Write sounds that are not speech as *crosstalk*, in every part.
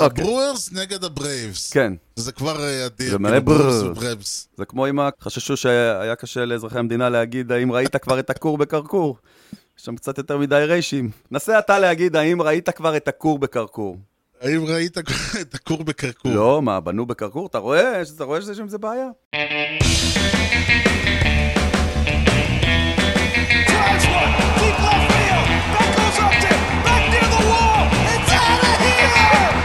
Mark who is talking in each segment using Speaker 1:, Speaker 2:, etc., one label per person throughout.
Speaker 1: הברוורס נגד הברייבס.
Speaker 2: אוקיי. כן,
Speaker 1: זה כבר אה, אדיר.
Speaker 2: זה מלא
Speaker 1: כאילו, ברורס
Speaker 2: ברר.
Speaker 1: וברייבס.
Speaker 2: זה כמו אם חששו שהיה קשה לאזרחי המדינה להגיד האם ראית כבר את הכור בקרקור. יש שם קצת יותר מדי ריישים. נסה אתה להגיד האם ראית כבר את הכור בקרקור.
Speaker 1: האם ראית *laughs* את הכור בקרקור?
Speaker 2: לא, מה, בנו בקרקור? אתה רואה? אתה רואה שיש עם זה בעיה?
Speaker 3: Drives one, deep left field. That goes up to, back near the wall. It's out of here.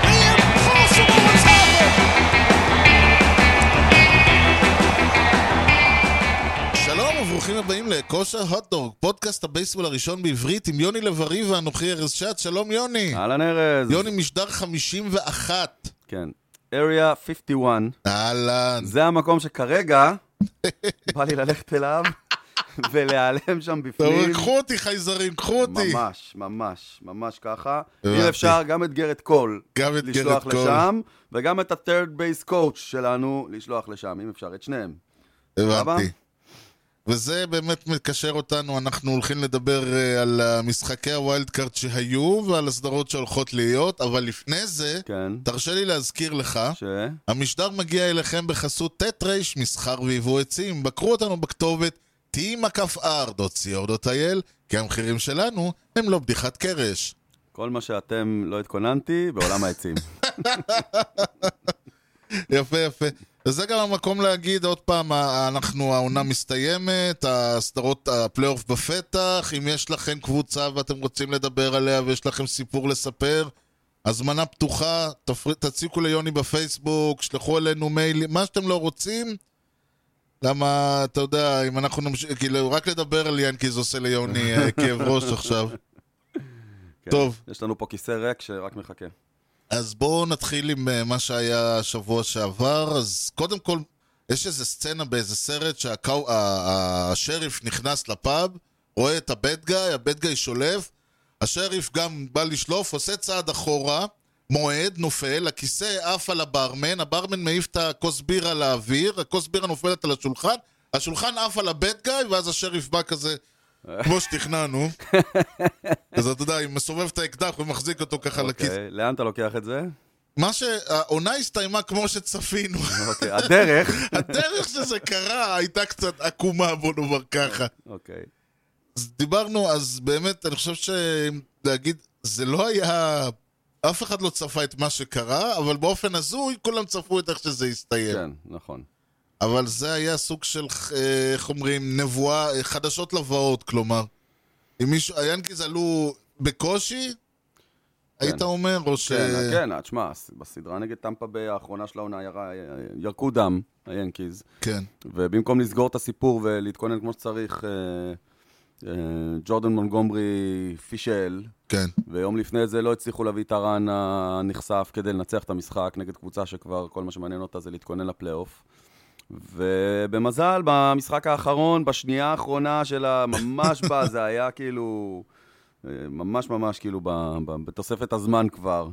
Speaker 3: The impossible has happened.
Speaker 1: שלום וברוכים הבאים לכושר הוטדוג, פודקאסט הבייסבול הראשון בעברית עם יוני לב-ארי ואנוכי ארז שץ. שלום יוני.
Speaker 2: אהלן ארז.
Speaker 1: יוני משדר 51.
Speaker 2: כן. Area 51,
Speaker 1: אהלן.
Speaker 2: זה המקום
Speaker 1: *laughs*
Speaker 2: שכרגע בא לי ללכת אליו *laughs* ולהיעלם שם
Speaker 1: טוב,
Speaker 2: בפנים.
Speaker 1: קחו אותי חייזרים, קחו אותי.
Speaker 2: ממש, ממש, ממש ככה. אם
Speaker 1: הבנתי.
Speaker 2: אפשר, גם את גרד קול.
Speaker 1: גם את גרד
Speaker 2: לשלוח
Speaker 1: קול.
Speaker 2: לשם, וגם את ה-third base coach שלנו לשלוח לשם, אם אפשר, את שניהם. סבבה?
Speaker 1: הבנתי. וזה באמת מקשר אותנו, אנחנו הולכים לדבר אה, על אה, משחקי הווילד קארט שהיו ועל הסדרות שהולכות להיות, אבל לפני זה,
Speaker 2: כן.
Speaker 1: תרשה לי להזכיר לך,
Speaker 2: ש...
Speaker 1: המשדר מגיע אליכם בחסות ט' ר' מסחר ויבוא עצים, בקרו אותנו בכתובת t.r.co.il, כי המחירים שלנו הם לא בדיחת קרש.
Speaker 2: כל מה שאתם לא התכוננתי, בעולם העצים.
Speaker 1: יפה, יפה. וזה גם המקום להגיד, עוד פעם, ה- אנחנו, העונה מסתיימת, הסדרות, הפלייאוף בפתח, אם יש לכם קבוצה ואתם רוצים לדבר עליה ויש לכם סיפור לספר, הזמנה פתוחה, תפר... תציקו ליוני בפייסבוק, שלחו אלינו מייל, מה שאתם לא רוצים. למה, אתה יודע, אם אנחנו נמשיך, כאילו, רק לדבר על ינקיז עושה ליוני אה, כאב ראש עכשיו. *laughs*
Speaker 2: כן.
Speaker 1: טוב.
Speaker 2: יש לנו פה כיסא ריק שרק מחכה.
Speaker 1: אז בואו נתחיל עם אה, מה שהיה שבוע שעבר. אז קודם כל, יש איזה סצנה באיזה סרט שהשריף נכנס לפאב, רואה את הבד גיא, הבד גיא שולף, השריף גם בא לשלוף, עושה צעד אחורה, מועד, נופל, הכיסא עף על הברמן, הברמן מעיף את הכוס בירה לאוויר, הכוס בירה נופלת על השולחן, השולחן עף על הבד גיא, ואז השריף בא כזה, כמו שתכננו. אז אתה יודע, אם מסובב את האקדח ומחזיק אותו ככה לכיס.
Speaker 2: אוקיי, לאן אתה לוקח את זה? *laughs*
Speaker 1: מה שהעונה הסתיימה כמו שצפינו. *laughs*
Speaker 2: אוקיי, הדרך.
Speaker 1: הדרך שזה קרה הייתה קצת עקומה, בוא נאמר ככה.
Speaker 2: אוקיי.
Speaker 1: אז דיברנו, אז באמת, אני חושב שלהגיד, זה לא היה... אף אחד לא צפה את מה שקרה, אבל באופן הזוי, כולם צפו את איך שזה הסתיים.
Speaker 2: כן, נכון.
Speaker 1: אבל זה היה סוג של, אה, איך אומרים, נבואה, אה, חדשות לבאות, כלומר. אם מישהו, היאנקיז עלו בקושי, היית אומר, או ש...
Speaker 2: כן, כן, תשמע, בסדרה נגד טמפה ביי האחרונה של העונה ירה- ירקו דם, היאנקיז,
Speaker 1: כן.
Speaker 2: ובמקום לסגור את הסיפור ולהתכונן כמו שצריך, אה, אה, ג'ורדן מונגומרי פישל,
Speaker 1: כן.
Speaker 2: ויום לפני זה לא הצליחו להביא את הרן הנחשף כדי לנצח את המשחק נגד קבוצה שכבר כל מה שמעניין אותה זה להתכונן לפלייאוף. ובמזל, במשחק האחרון, בשנייה האחרונה של הממש בה, זה היה כאילו, אה, ממש ממש כאילו ב- ב- בתוספת הזמן כבר,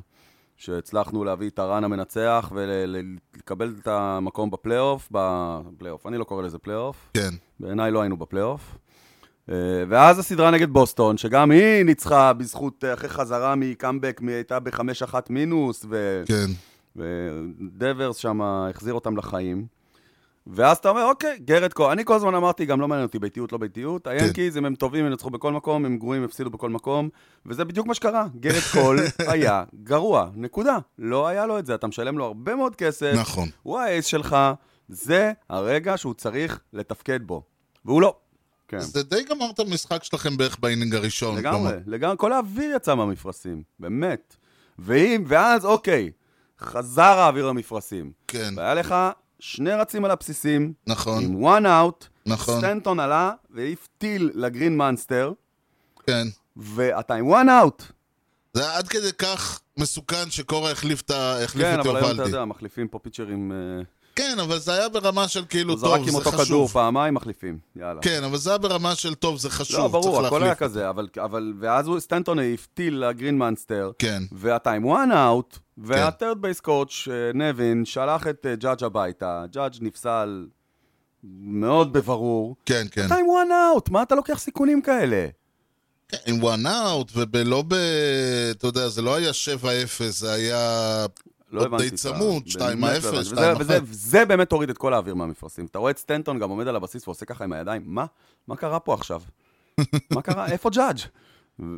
Speaker 2: שהצלחנו להביא את הרן המנצח ולקבל את המקום בפלייאוף, בפלייאוף, אני לא קורא לזה פלייאוף,
Speaker 1: כן.
Speaker 2: בעיניי לא היינו בפלייאוף. אה, ואז הסדרה נגד בוסטון, שגם היא ניצחה בזכות, אה, אחרי חזרה מקאמבק, מ- הייתה בחמש אחת מינוס, ו-
Speaker 1: כן.
Speaker 2: ודברס שם אה, החזיר אותם לחיים. ואז אתה אומר, אוקיי, גרד קול. אני כל הזמן אמרתי, גם לא מעניין אותי ביתיות, לא
Speaker 1: כן.
Speaker 2: ביתיות. היאנקיז, אם הם טובים, הם ינצחו בכל מקום, הם גרועים, הפסידו בכל מקום. וזה בדיוק מה שקרה. גרד
Speaker 1: *laughs*
Speaker 2: קול היה גרוע, נקודה. לא היה לו את זה. אתה משלם לו הרבה מאוד כסף.
Speaker 1: נכון.
Speaker 2: הוא האייס שלך, זה הרגע שהוא צריך לתפקד בו. והוא לא. כן.
Speaker 1: אז זה די גמר את המשחק שלכם בערך באינינג הראשון.
Speaker 2: לגמרי,
Speaker 1: כלומר.
Speaker 2: לגמרי, כל האוויר יצא מהמפרשים, באמת. ואם, ואז, אוקיי, חזר האוויר למפרשים.
Speaker 1: כן,
Speaker 2: והיה לך שני רצים על הבסיסים,
Speaker 1: נכון,
Speaker 2: עם one out,
Speaker 1: נכון.
Speaker 2: סטנטון עלה והעיף טיל לגרין מאנסטר,
Speaker 1: כן.
Speaker 2: ואתה עם one out.
Speaker 1: זה היה עד כדי כך מסוכן שקורה החליף את ה- החליף
Speaker 2: כן,
Speaker 1: את
Speaker 2: אבל היום אתה
Speaker 1: יובלדי.
Speaker 2: יודע, מחליפים פה פיצ'רים, אה,
Speaker 1: כן, אבל זה היה ברמה של כאילו,
Speaker 2: הוא זרק
Speaker 1: טוב,
Speaker 2: עם
Speaker 1: זה
Speaker 2: אותו כדור
Speaker 1: חשוב.
Speaker 2: פעמיים, מחליפים, יאללה.
Speaker 1: כן, אבל זה היה ברמה של טוב, זה חשוב,
Speaker 2: לא,
Speaker 1: צריך
Speaker 2: ברור, הכל היה
Speaker 1: להחליף.
Speaker 2: כזה, אבל, אבל, ואז הוא, סטנטון העיף טיל לגרין מאנסטר,
Speaker 1: כן,
Speaker 2: ואתה עם one out, והטרד בייס קואוץ' נבין שלח את אה, ג'אג' הביתה, ג'אג' נפסל מאוד בברור,
Speaker 1: כן, כן.
Speaker 2: אתה עם one out, מה אתה לוקח סיכונים כאלה?
Speaker 1: כן, עם one out, ולא ב... אתה יודע, זה לא היה 7-0, זה היה...
Speaker 2: לא
Speaker 1: עוד
Speaker 2: הבנתי.
Speaker 1: די
Speaker 2: את ה-
Speaker 1: צמוד,
Speaker 2: באמת
Speaker 1: 2-0,
Speaker 2: לא הבנתי. וזה-
Speaker 1: 2-1.
Speaker 2: וזה- וזה באמת הוריד את כל האוויר מהמפרשים. אתה רואה את סטנטון גם עומד על הבסיס ועושה ככה עם הידיים, מה? מה קרה
Speaker 1: *laughs*
Speaker 2: פה עכשיו? מה קרה? איפה ג'אדג'?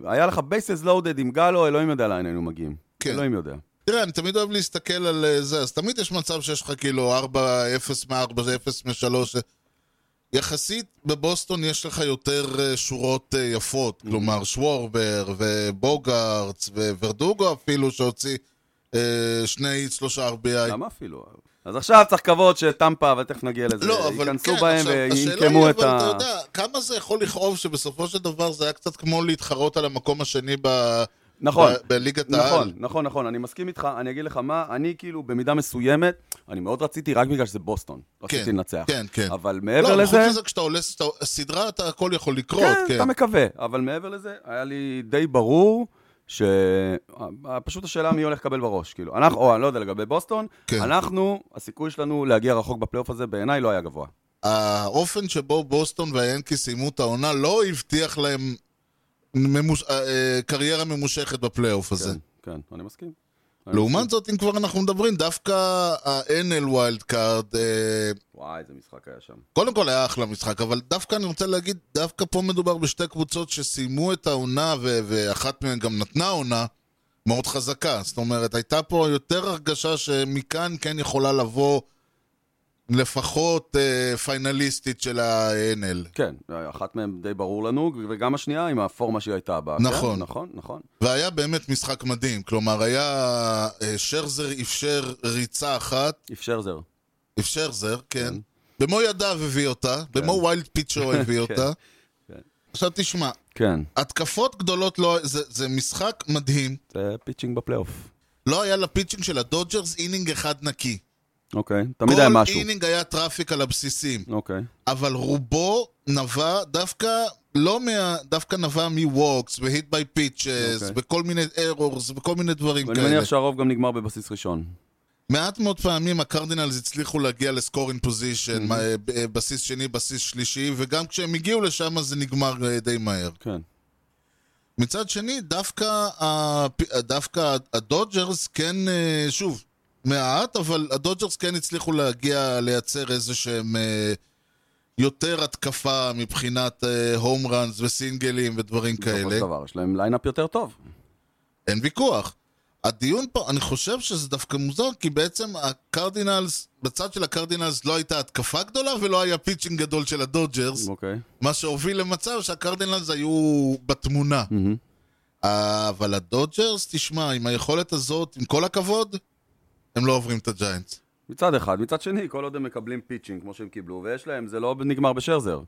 Speaker 2: היה לך בייסס לואודד עם גלו, אלוהים יודע לאן היינו מגיעים.
Speaker 1: כן.
Speaker 2: אלוהים יודע.
Speaker 1: תראה, אני תמיד אוהב להסתכל על אה, זה, אז תמיד יש מצב שיש לך כאילו 4-0 מ-4, 0 מ-3. יחסית, בבוסטון יש לך יותר אה, שורות אה, יפות,
Speaker 2: Mm.
Speaker 1: כלומר שוורבר ובוגארץ וורדוגו אפילו, שהוציא אה, שני, שלושה RBI.
Speaker 2: למה אפילו? אז עכשיו צריך לקוות שטמפה, ותכף נגיע לזה,
Speaker 1: לא, אבל
Speaker 2: ייכנסו
Speaker 1: כן,
Speaker 2: בהם
Speaker 1: עכשיו, השאלה
Speaker 2: וינקמו
Speaker 1: היא,
Speaker 2: את
Speaker 1: אבל אתה
Speaker 2: ה...
Speaker 1: יודע, כמה זה יכול לכאוב שבסופו של דבר זה היה קצת כמו להתחרות על המקום השני ב-
Speaker 2: נכון.
Speaker 1: ב- בליגת העל.
Speaker 2: נכון, נכון, נכון, אני מסכים איתך, אני אגיד לך מה, אני כאילו במידה מסוימת, אני מאוד רציתי רק בגלל שזה בוסטון, רציתי לנצח.
Speaker 1: כן, כן.
Speaker 2: אבל
Speaker 1: לא,
Speaker 2: מעבר לזה...
Speaker 1: חוץ מזה, כשאתה עולה סת- סדרה, אתה הכל יכול לקרות,
Speaker 2: כן,
Speaker 1: כן.
Speaker 2: אתה מקווה, אבל מעבר לזה, היה לי די ברור ש... אה, פשוט השאלה מי הולך לקבל בראש, כאילו. אנחנו, או אני לא יודע לגבי בוסטון,
Speaker 1: כן.
Speaker 2: אנחנו, הסיכוי שלנו להגיע רחוק בפלייאוף הזה, בעיניי לא היה גבוה.
Speaker 1: האופן שבו בוסטון והיאנקיס סיימו את העונה לא הבטיח להם ממוש... אה, אה, קריירה ממושכת בפלייאוף הזה.
Speaker 2: כן, כן, אני מסכים. אני מסכים.
Speaker 1: לעומת זאת, אם כבר אנחנו מדברים, דווקא ה-NL ווילד קארד, אה,
Speaker 2: וואי, איזה משחק היה שם.
Speaker 1: קודם כל היה אחלה משחק, אבל דווקא אני רוצה להגיד, דווקא פה מדובר בשתי קבוצות שסיימו את העונה, ו- ואחת מהן גם נתנה עונה מאוד חזקה. זאת אומרת, הייתה פה יותר הרגשה שמכאן כן יכולה לבוא לפחות אה, פיינליסטית של ה-NL.
Speaker 2: כן, אחת מהן די ברור לנו, וגם השנייה עם הפורמה שהיא הייתה בה. כן,
Speaker 1: נכון.
Speaker 2: נכון, נכון.
Speaker 1: והיה באמת משחק מדהים, כלומר היה... אה, שרזר אפשר ריצה אחת,
Speaker 2: אפשר זר.
Speaker 1: אפשר זר, כן.
Speaker 2: כן.
Speaker 1: במו ידיו הביא אותה, במו ויילד פיצ'ו הביא
Speaker 2: *laughs* כן,
Speaker 1: אותה.
Speaker 2: כן.
Speaker 1: עכשיו תשמע,
Speaker 2: כן,
Speaker 1: התקפות גדולות לא... זה, זה משחק מדהים.
Speaker 2: זה פיצ'ינג בפלייאוף.
Speaker 1: לא היה לפיצ'ינג של הדודג'רס אינינג אחד נקי.
Speaker 2: אוקיי, תמיד היה
Speaker 1: כל
Speaker 2: משהו.
Speaker 1: אינינג היה טראפיק על הבסיסים.
Speaker 2: אוקיי,
Speaker 1: אבל רובו נבע דווקא לא מה... דווקא נבע מווקס והיט ביי פיצ'ס,
Speaker 2: אוקיי.
Speaker 1: וכל מיני ארורס וכל מיני דברים
Speaker 2: ואני
Speaker 1: כאלה.
Speaker 2: מניח שהרוב גם נגמר בבסיס ראשון.
Speaker 1: מעט מאוד פעמים הקרדינלס הצליחו להגיע לסקורינג פוזיישן, אה, בסיס שני, בסיס שלישי, וגם כשהם הגיעו לשם זה נגמר אה, די מהר.
Speaker 2: כן.
Speaker 1: מצד שני, דווקא, ה- אה, דווקא הדודג'רס כן, אה, שוב, מעט, אבל הדודג'רס כן הצליחו להגיע, לייצר איזה שהם אה, יותר התקפה מבחינת הום ראנס וסינגלים ודברים
Speaker 2: בסופו
Speaker 1: כאלה.
Speaker 2: של דבר, יש להם ליינאפ יותר טוב.
Speaker 1: אין ויכוח. הדיון פה, אני חושב שזה דווקא מוזר, כי בעצם הקרדינלס, בצד של הקרדינלס לא הייתה התקפה גדולה ולא היה פיצ'ינג גדול של הדודג'רס,
Speaker 2: אוקיי.
Speaker 1: מה שהוביל למצב שהקרדינלס היו בתמונה. אה,
Speaker 2: מהמם.
Speaker 1: אבל הדודג'רס, תשמע, עם היכולת הזאת, עם כל הכבוד, הם לא עוברים את הג'יינטס.
Speaker 2: מצד אחד. מצד שני, כל עוד הם מקבלים פיצ'ינג כמו שהם קיבלו, ויש להם, זה לא נגמר בשרזר.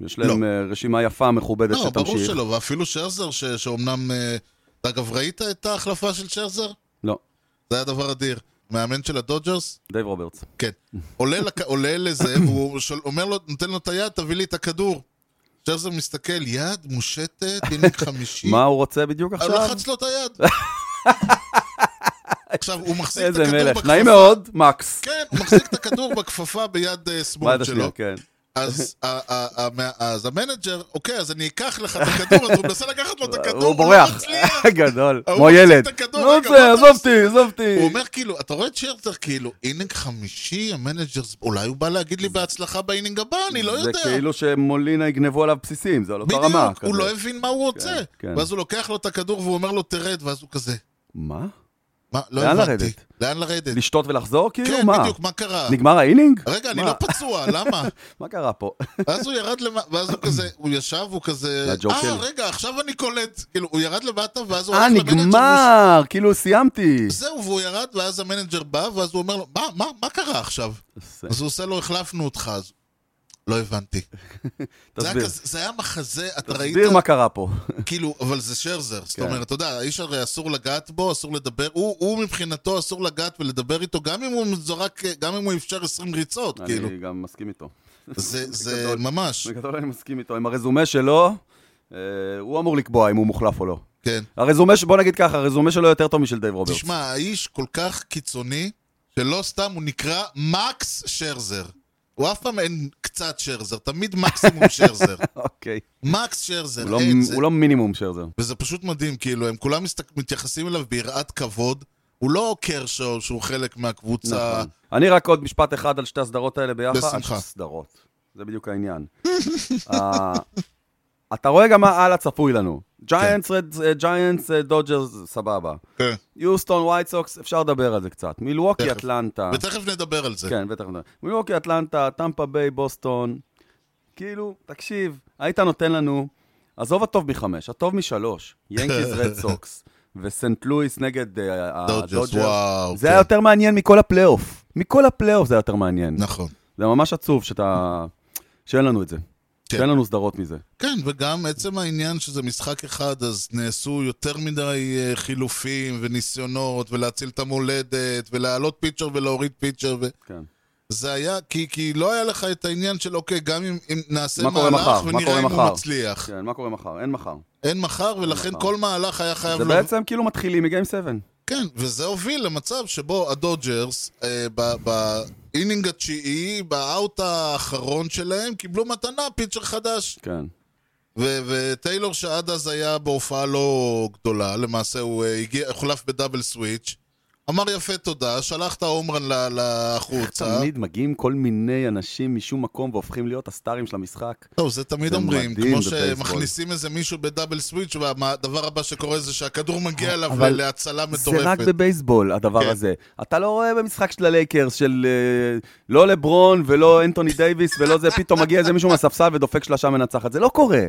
Speaker 2: יש להם
Speaker 1: לא.
Speaker 2: אה, רשימה יפה, מכובדת,
Speaker 1: לא, ברור
Speaker 2: שתמשיך.
Speaker 1: שלא, ואפילו שרזר, ש- שאומנם... אה, אגב, ראית את ההחלפה של שרזר?
Speaker 2: לא,
Speaker 1: זה היה דבר אדיר. מאמן של הדודג'רס?
Speaker 2: דייב רוברטס.
Speaker 1: כן. עולה, לק... עולה
Speaker 2: *coughs*
Speaker 1: לזה, והוא של... אומר לו, נותן לו את היד, תביא לי את הכדור. שרזר מסתכל, יד
Speaker 2: *coughs*
Speaker 1: מושטת, הנה חמישי.
Speaker 2: מה הוא רוצה בדיוק
Speaker 1: הוא
Speaker 2: עכשיו?
Speaker 1: לחץ לו את היד.
Speaker 2: *laughs*
Speaker 1: עכשיו, הוא מחזיק את
Speaker 2: איזה
Speaker 1: הכדור
Speaker 2: מלך.
Speaker 1: בכפפה.
Speaker 2: נעים מאוד, מקס.
Speaker 1: כן, הוא מחזיק את הכדור בכפפה ביד אה,
Speaker 2: ביד
Speaker 1: שמאל
Speaker 2: השנייה,
Speaker 1: שלו.
Speaker 2: כן. *laughs*
Speaker 1: אז ה- ה- ה- מה- אז המנג'ר, אוקיי, אז אני אקח לך את הכדור, אז הוא מנסה לקחת לו את הכדור,
Speaker 2: הוא
Speaker 1: לא
Speaker 2: בורח.
Speaker 1: מצליח.
Speaker 2: *laughs* גדול.
Speaker 1: ההוא
Speaker 2: כמו
Speaker 1: מחזיק
Speaker 2: ילד.
Speaker 1: את הכדור,
Speaker 2: לא
Speaker 1: רגע, מה אתה
Speaker 2: רוצה, עזוב
Speaker 1: עושה?
Speaker 2: אותי, עזוב אותי.
Speaker 1: הוא אומר כאילו, אתה רואה את שרצר כאילו, אינינג חמישי, המנג'ר, אולי הוא בא להגיד לי בהצלחה באינינג הבא, אני לא יודע.
Speaker 2: זה כאילו שמולינה יגנבו עליו בסיסים, זה על אותה רמה.
Speaker 1: בדיוק, הוא
Speaker 2: כזה.
Speaker 1: לא הבין מה הוא רוצה.
Speaker 2: כן.
Speaker 1: ואז הוא לוקח לו את הכדור והוא אומר לו, תרד, ואז הוא כזה,
Speaker 2: מה?
Speaker 1: מה, לא
Speaker 2: לאן
Speaker 1: הבנתי.
Speaker 2: לרדת?
Speaker 1: לאן לרדת?
Speaker 2: לשתות ולחזור? כאילו,
Speaker 1: כן,
Speaker 2: מה?
Speaker 1: בדיוק, מה קרה?
Speaker 2: נגמר האינינג?
Speaker 1: רגע, אני
Speaker 2: מה?
Speaker 1: לא
Speaker 2: *laughs*
Speaker 1: פצוע, למה?
Speaker 2: מה קרה פה?
Speaker 1: ואז הוא ירד למטה, ואז הוא כזה, הוא ישב, הוא כזה,
Speaker 2: והג'וקר.
Speaker 1: אה, רגע, עכשיו אני קולט. כאילו, הוא ירד למטה, ואז הוא
Speaker 2: אה,
Speaker 1: הולך למנג'ר, והוא
Speaker 2: נגמר! כאילו, סיימתי!
Speaker 1: ש- זהו, והוא ירד, ואז המנג'ר בא, ואז הוא אומר לו, מה, מה, מה קרה עכשיו? אז הוא עושה לו, החלפנו אותך, אז... לא הבנתי. זה היה
Speaker 2: תסביר.
Speaker 1: כזה- זה היה מחזה, אתה ראית,
Speaker 2: תסביר מה קרה פה.
Speaker 1: כאילו, אבל זה שרזר. זאת
Speaker 2: כן.
Speaker 1: אומרת, אתה יודע, האיש הרי אסור לגעת בו, אסור לדבר, הוא הוא מבחינתו אסור לגעת ולדבר איתו, גם אם הוא זורק, גם אם הוא אפשר 20 ריצות, *laughs* כאילו.
Speaker 2: *laughs* אני גם מסכים איתו.
Speaker 1: זה- זה
Speaker 2: בגדול.
Speaker 1: ממש,
Speaker 2: בגדול אני מסכים איתו. עם הרזומה שלו, אה, הוא אמור לקבוע אם הוא מוחלף או לא.
Speaker 1: כן.
Speaker 2: הרזומה, ש- בוא נגיד ככה, הרזומה שלו יותר טוב משל דייב רוברטס.
Speaker 1: תשמע, האיש כל כך קיצוני, שלא סתם הוא נקרא מקס שרזר. הוא אף פעם אין קצת שרזר, תמיד מקסימום
Speaker 2: *laughs*
Speaker 1: שרזר.
Speaker 2: אוקיי.
Speaker 1: מקס שרזר,
Speaker 2: הוא לא-
Speaker 1: אין זה.
Speaker 2: הוא לא מינימום שרזר.
Speaker 1: וזה פשוט מדהים, כאילו, הם כולם מסתק- מתייחסים אליו ביראת כבוד. הוא לא קרשו שהוא חלק מהקבוצה.
Speaker 2: נכון. אני רק עוד משפט אחד על שתי הסדרות האלה ביחד.
Speaker 1: בשמחה.
Speaker 2: סדרות. זה בדיוק העניין. *laughs* אה, אתה רואה גם מה הלאה צפוי לנו. אה, ג'יינטס, דודג'רס, סבבה.
Speaker 1: כן.
Speaker 2: יוסטון, ווייט סוקס, אפשר לדבר על זה קצת. מילווקי,
Speaker 1: תכף.
Speaker 2: אטלנטה.
Speaker 1: ותכף נדבר על זה.
Speaker 2: כן, בטח. נדבר. מילווקי, אטלנטה, טמפה ביי, בוסטון. כאילו, תקשיב, היית נותן לנו, עזוב הטוב מחמש,
Speaker 1: *laughs*
Speaker 2: הטוב משלוש, ינקיז רד סוקס, וסנט לואיס נגד אה,
Speaker 1: דודג'רס,
Speaker 2: הדודג'רס.
Speaker 1: וואו.
Speaker 2: זה
Speaker 1: כן.
Speaker 2: היה יותר מעניין מכל הפלייאוף. מכל הפלייאוף זה היה יותר מעניין.
Speaker 1: נכון.
Speaker 2: זה ממש עצוב שאתה... שאין לנו את זה. שאין לנו סדרות מזה.
Speaker 1: כן, וגם עצם העניין שזה משחק אחד, אז נעשו יותר מדי אה, חילופים וניסיונות, ולהציל את המולדת, ולהעלות פיצ'ר ולהוריד פיצ'ר, ו...
Speaker 2: כן.
Speaker 1: זה היה, כי, כי לא היה לך את העניין של אוקיי, גם אם, אם נעשה
Speaker 2: מה קורה
Speaker 1: מהלך
Speaker 2: מחר? מה
Speaker 1: ונראה
Speaker 2: קורה
Speaker 1: אם
Speaker 2: מחר?"
Speaker 1: הוא מצליח.
Speaker 2: כן, מה קורה מחר? אין מחר.
Speaker 1: אין מחר, ולכן
Speaker 2: מחר.
Speaker 1: כל מהלך היה חייב...
Speaker 2: זה
Speaker 1: לבוא-
Speaker 2: בעצם כאילו מתחילים מגיים 7.
Speaker 1: כן, וזה הוביל למצב שבו הדודג'רס, אה, ב- באינינג התשיעי, באאוט האחרון שלהם, קיבלו מתנה פיצ'ר חדש.
Speaker 2: כן.
Speaker 1: ו- וטיילור שעד אז היה בהופעה לא גדולה, למעשה הוא אה, הגיע, הוחלף בדאבל סוויץ', אמר יפה תודה, שלח את ההומרן ל- לחוצה.
Speaker 2: תמיד מגיעים כל מיני אנשים משום מקום והופכים להיות הסטארים של המשחק.
Speaker 1: טוב, זה תמיד
Speaker 2: זה
Speaker 1: אומרים,
Speaker 2: מדהים
Speaker 1: כמו
Speaker 2: בבייסבול.
Speaker 1: שמכניסים איזה מישהו בדאבל סוויץ', והדבר הבא שקורה זה שהכדור מגיע אליו
Speaker 2: אבל
Speaker 1: להצלה
Speaker 2: זה רק
Speaker 1: מטורפת.
Speaker 2: בבייסבול, הדבר
Speaker 1: כן.
Speaker 2: הזה. אתה לא רואה במשחק של הלייקרס של אה, לא לברון ולא אנטוני דייוויס ולא זה, פתאום מגיע איזה מישהו מהספסל ודופק שלושה מנצחת. זה לא קורה.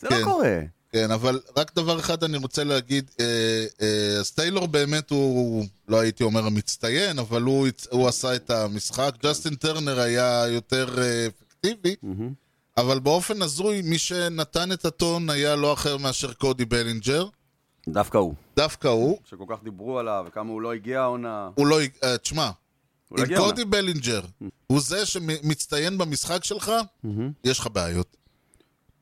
Speaker 2: זה לא
Speaker 1: כן.
Speaker 2: קורה.
Speaker 1: כן, אבל רק דבר אחד אני רוצה להגיד, אה, אה, אז טיילור באמת הוא, לא הייתי אומר המצטיין, אבל הוא הצ- הוא עשה את המשחק.
Speaker 2: כן.
Speaker 1: ג'סטין טרנר היה יותר אה, אפקטיבי,
Speaker 2: מהמם.
Speaker 1: אבל באופן הזוי, מי שנתן את הטון היה לא אחר מאשר קודי בלינג'ר.
Speaker 2: דווקא הוא.
Speaker 1: דווקא הוא.
Speaker 2: שכל כך דיברו עליו, וכמה הוא לא הגיע העונה.
Speaker 1: הוא לא... הג- אה, תשמע,
Speaker 2: הוא לא
Speaker 1: אם
Speaker 2: הגיע העונה.
Speaker 1: קודי בלינג'ר הוא זה שמצטיין במשחק שלך,
Speaker 2: מהמם.
Speaker 1: יש לך בעיות.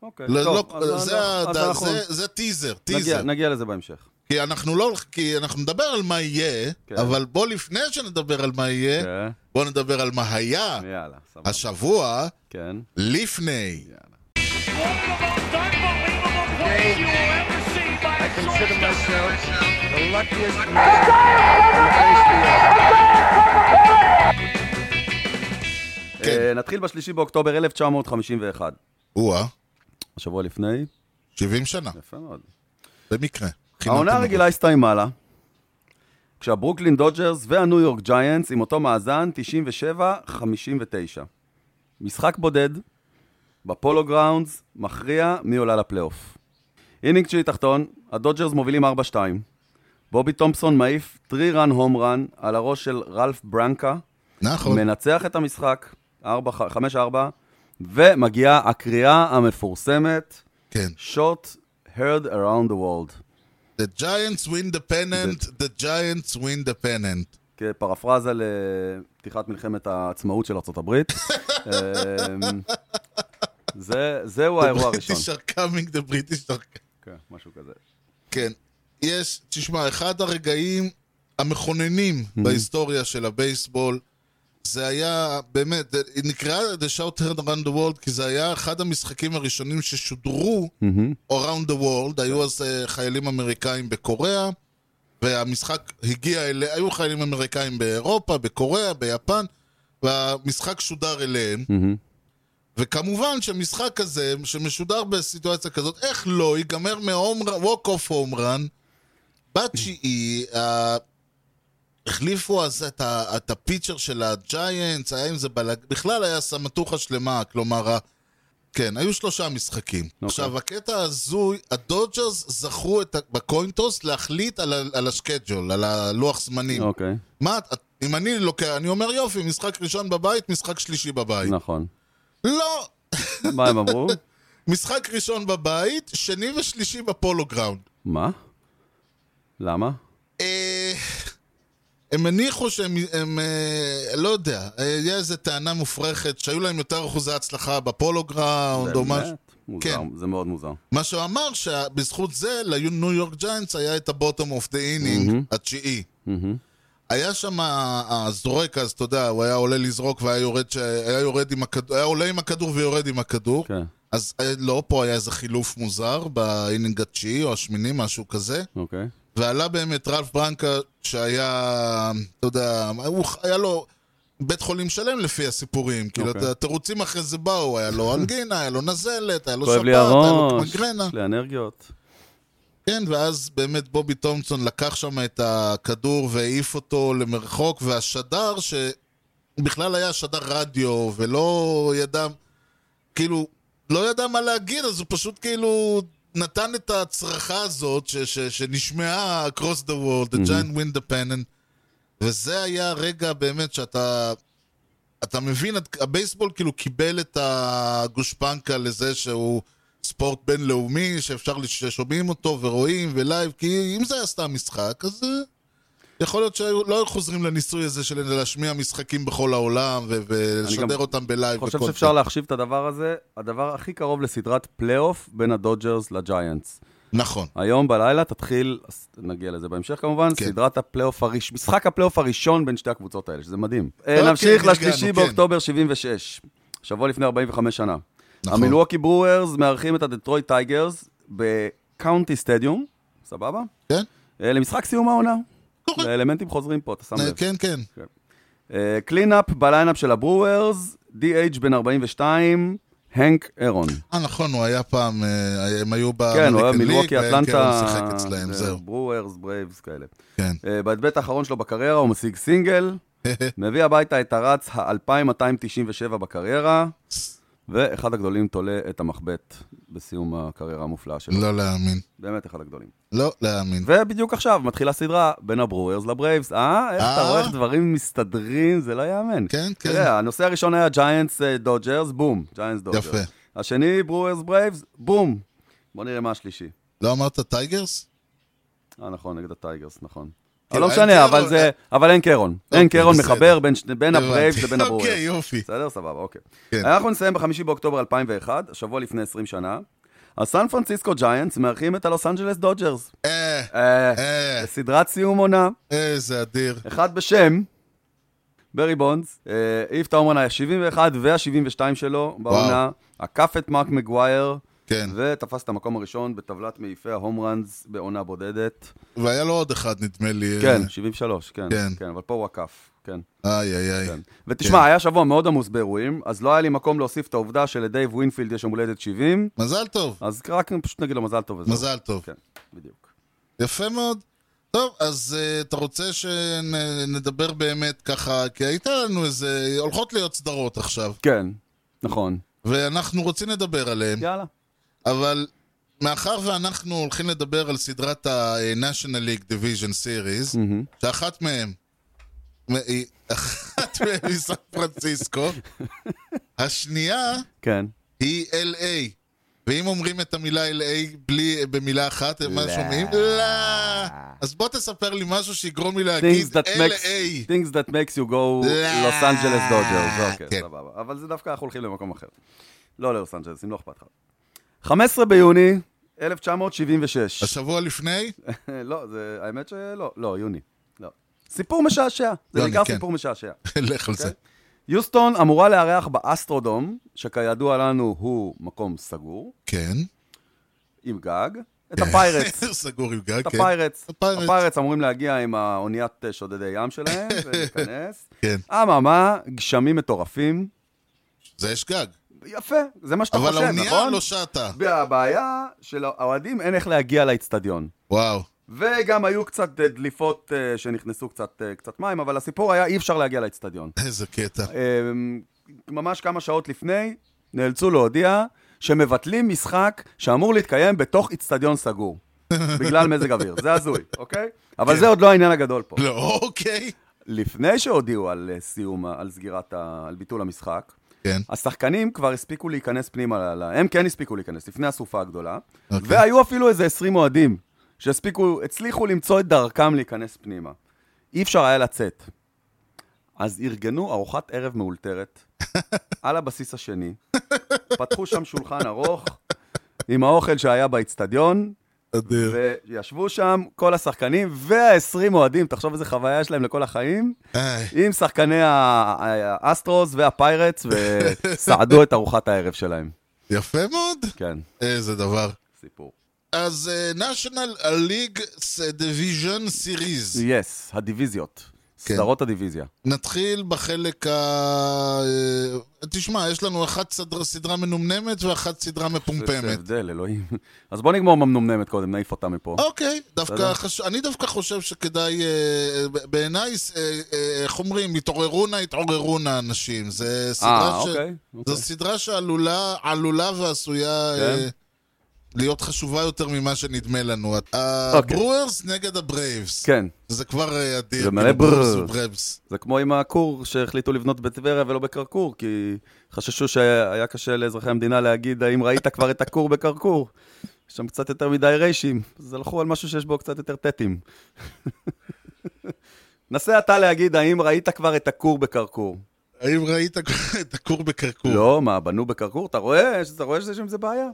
Speaker 2: אוקיי,
Speaker 1: לא,
Speaker 2: טוב,
Speaker 1: לא,
Speaker 2: אז
Speaker 1: זה
Speaker 2: אנחנו- אז
Speaker 1: הדע-
Speaker 2: אנחנו
Speaker 1: זה- זה טיזר,
Speaker 2: נגיע-
Speaker 1: טיזר.
Speaker 2: נגיע לזה בהמשך.
Speaker 1: כי אנחנו לא... הולכ- כי אנחנו נדבר על מה יהיה,
Speaker 2: כן.
Speaker 1: אבל בוא לפני שנדבר על מה יהיה,
Speaker 2: כן,
Speaker 1: בוא נדבר על מה היה
Speaker 2: יאללה, סבבה.
Speaker 1: השבוע
Speaker 2: כן.
Speaker 1: לפני.
Speaker 4: I consider myself the luckiest man.
Speaker 1: כן.
Speaker 2: אה, נתחיל בשלישי באוקטובר 1951.
Speaker 1: או-אה,
Speaker 2: השבוע לפני,
Speaker 1: 70 שנה,
Speaker 2: יפה מאוד.
Speaker 1: במקרה.
Speaker 2: העונה
Speaker 1: חינם
Speaker 2: הרגילה הסתיימה לה, כשהברוקלין דודג'רס והניו יורק ג'יינטס עם אותו מאזן 97-59. משחק בודד, בפולו גראונדס, מכריע מי עולה לפלייאוף. אינינג תשיעי תחתון, הדודג'רס מובילים 4-2. בובי תומפסון מעיף 3 רן הום רן על הראש של רלף ברנקה,
Speaker 1: נכון.
Speaker 2: מנצח את המשחק, 4-5-4, ומגיעה הקריאה המפורסמת,
Speaker 1: כן.
Speaker 2: shot heard around the world.
Speaker 1: The Giants win the pennant, the Giants win the pennant.
Speaker 2: כפרפרזה לפתיחת מלחמת העצמאות של ארה"ב.
Speaker 1: *laughs*
Speaker 2: זהו האירוע
Speaker 1: *laughs*
Speaker 2: הראשון.
Speaker 1: British are coming, the British are coming.
Speaker 2: כן, משהו כזה.
Speaker 1: כן. יש, תשמע, אחד הרגעים המכוננים בהיסטוריה של הבייסבול, זה היה, באמת, זה נקרא The Shout Heard Around the World, כי זה היה אחד המשחקים הראשונים ששודרו Around the World, היו אז אה, חיילים אמריקאים בקוריאה, והמשחק הגיע אליה, היו חיילים אמריקאים באירופה, בקוריאה, ביפן, והמשחק שודר אליהם. וכמובן שהמשחק הזה, שמשודר בסיטואציה כזאת, איך לא ייגמר מ-walk off home run, בתשיעי, אה, החליפו אז את, ה, את הפיצ'ר של הג'יינטס, היה עם זה בלאג... בכלל היה סמטוחה שלמה, כלומר, ה- כן, היו שלושה משחקים.
Speaker 2: אוקיי.
Speaker 1: Okay. עכשיו, הקטע ההזוי, הדודג'רס זכו את, ה- בקוינטוס להחליט על, ה- על השקייג'ול, על הלוח זמנים. Okay.
Speaker 2: אוקיי,
Speaker 1: מה, את- אם אני לוקח, אני אומר יופי, משחק ראשון בבית, משחק שלישי בבית.
Speaker 2: נכון.
Speaker 1: לא,
Speaker 2: מה הם אמרו?
Speaker 1: משחק ראשון בבית, שני ושלישי בפולו גראונד.
Speaker 2: מה? למה?
Speaker 1: אה, הם הניחו שהם, הם, אה, לא יודע, אה, היה איזו טענה מופרכת שהיו להם יותר אחוזי הצלחה בפולו גראונד או משהו.
Speaker 2: באמת? מוזר,
Speaker 1: כן.
Speaker 2: זה מאוד מוזר.
Speaker 1: מה שהוא אמר שבזכות זה לניו יורק ג'יינטס היה את הבוטום אוף דה אינינג התשיעי.
Speaker 2: מהמם.
Speaker 1: היה שם ה- הזורק, אז אתה יודע, הוא היה עולה לזרוק והיה יורד, ש... היה יורד עם הכדור, היה עולה עם הכדור ויורד עם הכדור.
Speaker 2: כן,
Speaker 1: אז אה, לא, פה היה איזה חילוף מוזר באינינג התשיעי או השמיני, משהו כזה.
Speaker 2: אוקיי.
Speaker 1: ועלה באמת רלף ברנקה, שהיה, אתה יודע, הוא, היה לו בית חולים שלם לפי הסיפורים. כאילו,
Speaker 2: אוקיי.
Speaker 1: okay. התירוצים אחרי זה באו, היה
Speaker 2: *laughs*
Speaker 1: לו אנגינה, היה לו נזלת, היה לו
Speaker 2: כואב
Speaker 1: שפעת,
Speaker 2: לי
Speaker 1: היה לו
Speaker 2: הראש,
Speaker 1: מיגרנה.
Speaker 2: יש לי אנרגיות.
Speaker 1: כן, ואז באמת בובי תומפסון לקח שם את הכדור והעיף אותו למרחוק, והשדר, שבכלל היה שדר רדיו, ולא ידע, כאילו, לא ידע מה להגיד, אז הוא פשוט כאילו נתן את הצרחה הזאת ש- ש- שנשמעה across the world,
Speaker 2: Mhm.
Speaker 1: the giant wind dependent, וזה היה הרגע באמת שאתה... אתה מבין, את- הבייסבול כאילו קיבל את הגושפנקה לזה שהוא ספורט בינלאומי, שאפשר, לש- ששומעים אותו ורואים ולייב, כי אם זה היה סתם משחק, אז אה, יכול להיות שלא היו חוזרים לניסוי הזה של להשמיע משחקים בכל העולם ו-
Speaker 2: אני
Speaker 1: ולשדר
Speaker 2: גם
Speaker 1: אותם בלייב.
Speaker 2: אני חושב
Speaker 1: בכל
Speaker 2: שאפשר להחשיב את הדבר הזה, הדבר הכי קרוב לסדרת פלייאוף בין הדודג'רס לג'יינטס.
Speaker 1: נכון.
Speaker 2: היום בלילה תתחיל, אז נגיע לזה בהמשך כמובן,
Speaker 1: כן.
Speaker 2: סדרת הפלייאוף הראשון, משחק הפלייאוף הראשון בין שתי הקבוצות האלה, שזה מדהים. אה,
Speaker 1: אוקיי,
Speaker 2: נמשיך
Speaker 1: הגענו,
Speaker 2: לשלישי
Speaker 1: כן.
Speaker 2: באוקטובר 76, שבוע לפני 45 שנה.
Speaker 1: נכון.
Speaker 2: המילווקי ברוארס מארחים את הדטרויט טייגרס בקאונטי סטדיום, סבבה?
Speaker 1: כן?
Speaker 2: אה, למשחק סיום העונה.
Speaker 1: קורה.
Speaker 2: האלמנטים חוזרים פה, אתה שם לב.
Speaker 1: נכון.
Speaker 2: אה,
Speaker 1: כן, כן.
Speaker 2: קלינאפ בליינאפ של הברוארס, DH בן 42, הנק אירון.
Speaker 1: אה, נכון, הוא היה פעם, אה, הם היו
Speaker 2: כן, הוא היה
Speaker 1: באמריקן ליג,
Speaker 2: מילווקי,
Speaker 1: והאם כן, הוא
Speaker 2: אטלנטה,
Speaker 1: שיחק אצלהם, זהו.
Speaker 2: ברוארס, ברייבס כאלה.
Speaker 1: כן. *laughs*
Speaker 2: אה, בהדבט האחרון שלו בקריירה הוא משיג סינגל, מביא הביתה את הרץ ה-2297 בקריירה, ואחד הגדולים תולה את המחבט בסיום הקריירה המופלאה שלו.
Speaker 1: לא להאמין.
Speaker 2: באמת אחד הגדולים.
Speaker 1: לא להאמין.
Speaker 2: ובדיוק עכשיו מתחילה סדרה בין הברוארס לברייבס. אה, איך אתה
Speaker 1: אה?
Speaker 2: רואה איך דברים מסתדרים, זה לא ייאמן.
Speaker 1: כן, כן.
Speaker 2: תראה, הנושא הראשון היה ג'יינטס אה, דודג'רס, בום, ג'יינטס דודג'רס.
Speaker 1: יפה.
Speaker 2: השני, ברוארס ברייבס, בום. בוא נראה מה השלישי.
Speaker 1: לא אמרת טייגרס?
Speaker 2: אה, נכון, נגד הטייגרס, נכון. אבל
Speaker 1: כאילו,
Speaker 2: לא
Speaker 1: אין
Speaker 2: משנה,
Speaker 1: קרון,
Speaker 2: אבל זה,
Speaker 1: אה.
Speaker 2: אבל אין קרון.
Speaker 1: אוקיי,
Speaker 2: אין קרון
Speaker 1: בסדר.
Speaker 2: מחבר בין שני- בין הברייבס
Speaker 1: הבנתי.
Speaker 2: לבין הברוארס.
Speaker 1: *laughs* אוקיי, יופי.
Speaker 2: בסדר, סבבה, אוקיי.
Speaker 1: כן.
Speaker 2: אנחנו נסיים בחמישי באוקטובר 2001, שבוע לפני 20 שנה. הסן פרנסיסקו ג'יינטס מארחים את הלוס אנג'לס דודג'רס.
Speaker 1: אה,
Speaker 2: אה,
Speaker 1: אה.
Speaker 2: סדרת סיום עונה,
Speaker 1: איזה אדיר.
Speaker 2: אחד בשם ברי בונדס, אה, העיף את ההומרן ה-71 וה-72 שלו בעונה, עקף את מרק מגווייר,
Speaker 1: כן.
Speaker 2: ותפס את המקום הראשון בטבלת מעיפי ההומרנס בעונה בודדת.
Speaker 1: והיה לו עוד אחד, נדמה לי. אה,
Speaker 2: כן, 73, כן,
Speaker 1: כן.
Speaker 2: כן, אבל פה הוא עקף, כן.
Speaker 1: אה, איי, איי, איי.
Speaker 2: כן. ותשמע, היה שבוע מאוד עמוס באירועים, אז לא היה לי מקום להוסיף את העובדה שלדייב ווינפילד יש יום הולדת 70,
Speaker 1: מזל טוב,
Speaker 2: אז רק פשוט נגיד לו מזל טוב וזהו.
Speaker 1: מזל טוב.
Speaker 2: כן, בדיוק.
Speaker 1: יפה מאוד. טוב, אז אה, אתה רוצה שנדבר באמת ככה, כי הייתה לנו איזה... הולכות להיות סדרות עכשיו,
Speaker 2: כן, נכון.
Speaker 1: ואנחנו רוצים לדבר עליהן,
Speaker 2: יאללה.
Speaker 1: אבל מאחר ואנחנו הולכים לדבר על סדרת ה-National League Division Series,
Speaker 2: מהמם.
Speaker 1: שאחת מהן, מ- היא-
Speaker 2: *laughs*
Speaker 1: אחת מהן היא סן פרנסיסקו, השנייה
Speaker 2: כן.
Speaker 1: היא LA. ואם אומרים את המילה LA בלי, במילה אחת, הם מה
Speaker 2: לא.
Speaker 1: שומעים? לא. אז בוא תספר לי משהו שיגרום לי להגיד
Speaker 2: things that makes
Speaker 1: LA.
Speaker 2: things that makes you go
Speaker 1: לא.
Speaker 2: לוס אנג'לס דודג'רס, אוקיי,
Speaker 1: כן.
Speaker 2: סבבה. אבל זה דווקא אנחנו הולכים למקום אחר. לא ללוס אנג'לס, אם לא אכפת לך. 15 ביוני 1976.
Speaker 1: השבוע
Speaker 2: *laughs*
Speaker 1: לפני?
Speaker 2: לא, זה, האמת שלא, לא, יוני. לא. סיפור משעשע. זה
Speaker 1: יוני,
Speaker 2: בעיקר
Speaker 1: כן.
Speaker 2: סיפור משעשע.
Speaker 1: לך על זה.
Speaker 2: יוסטון אמורה לארח באסטרודום, שכידוע לנו הוא מקום סגור,
Speaker 1: כן.
Speaker 2: עם גג, את
Speaker 1: *laughs*
Speaker 2: הפיירטס.
Speaker 1: סגור עם גג,
Speaker 2: את
Speaker 1: כן.
Speaker 2: הפיירטס.
Speaker 1: הפיירטס.
Speaker 2: הפיירטס אמורים להגיע עם האוניית אה, שודדי ים שלהם *laughs* ולהיכנס.
Speaker 1: כן.
Speaker 2: אממה, גשמים מטורפים.
Speaker 1: זה יש גג.
Speaker 2: יפה, זה מה שאתה
Speaker 1: אבל
Speaker 2: חושב,
Speaker 1: האונייה
Speaker 2: נכון?
Speaker 1: לא שטה.
Speaker 2: והבעיה של האוהדים, אין איך להגיע לאצטדיון.
Speaker 1: וואו.
Speaker 2: וגם היו קצת אה, דליפות אה, שנכנסו קצת, אה, קצת מים, אבל הסיפור היה אי אפשר להגיע לאצטדיון.
Speaker 1: איזה קטע.
Speaker 2: אמ, ממש כמה שעות לפני, נאלצו להודיע שמבטלים משחק שאמור להתקיים בתוך איצטדיון סגור. בגלל מזג אוויר, זה הזוי, אוקיי? אבל זה עוד לא העניין הגדול פה.
Speaker 1: לא, אוקיי.
Speaker 2: לפני שהודיעו על אה, סיום, ה- על סגירת, ה- על ביטול המשחק,
Speaker 1: כן.
Speaker 2: השחקנים כבר הספיקו להיכנס פנימה, ל- ל- הם כן הספיקו להיכנס, לפני הסופה הגדולה,
Speaker 1: אוקיי.
Speaker 2: והיו אפילו איזה 20 אוהדים שהספיקו, הצליחו למצוא את דרכם להיכנס פנימה. אי אפשר היה לצאת. אז ארגנו ארוחת ערב מאולתרת, על הבסיס השני, פתחו שם שולחן ארוך, עם האוכל שהיה באיצטדיון,
Speaker 1: אדיר.
Speaker 2: וישבו שם כל השחקנים וה-20 אוהדים, תחשוב איזה חוויה יש להם לכל החיים,
Speaker 1: איי,
Speaker 2: עם שחקני ה- ה- האסטרוס והפיירטס, וסעדו את ארוחת הערב שלהם.
Speaker 1: יפה מאוד.
Speaker 2: כן,
Speaker 1: איזה דבר.
Speaker 2: סיפור.
Speaker 1: אז אה, national league division series.
Speaker 2: יס, הדיוויזיות.
Speaker 1: כן.
Speaker 2: סדרות הדיוויזיה.
Speaker 1: נתחיל בחלק ה... אה, תשמע, יש לנו אחת סדר- סדרה מנומנמת ואחת סדרה
Speaker 2: איזה
Speaker 1: מפומפמת.
Speaker 2: הבדל, אלוהים. אז בוא נגמור עם המנומנמת קודם, נעיף אותה מפה. אה,
Speaker 1: אוקיי, דווקא
Speaker 2: בסדר.
Speaker 1: חש... אני דווקא חושב שכדאי, אה, ב- בעיניי, אה, אה, איך אומרים, התעוררו נא, התעוררו נא אנשים. זה סדרה,
Speaker 2: אה,
Speaker 1: ש...
Speaker 2: אוקיי. אוקיי.
Speaker 1: זו סדרה שעלולה עלולה ועשויה
Speaker 2: כן.
Speaker 1: אה, להיות חשובה יותר ממה שנדמה לנו.
Speaker 2: אוקיי.
Speaker 1: הברוארס נגד הברייבס.
Speaker 2: כן,
Speaker 1: זה כבר אה, אדיר.
Speaker 2: זה מלא
Speaker 1: כאילו,
Speaker 2: ברר.
Speaker 1: ברייבס וברייבס.
Speaker 2: זה כמו עם הכור שהחליטו לבנות בטבריה ולא בכרכור, כי חששו שהיה קשה לאזרחי המדינה להגיד האם ראית כבר את הכור בכרכור. יש שם קצת יותר מדי ריישים, אז הלכו על משהו שיש בו קצת יותר טטים. *laughs* נסה אתה להגיד האם ראית כבר את הכור בכרכור.
Speaker 1: האם ראית את הכור בקרקור?
Speaker 2: לא, מה, בנו בכרכור? אתה רואה? אתה רואה שיש עם זה בעיה?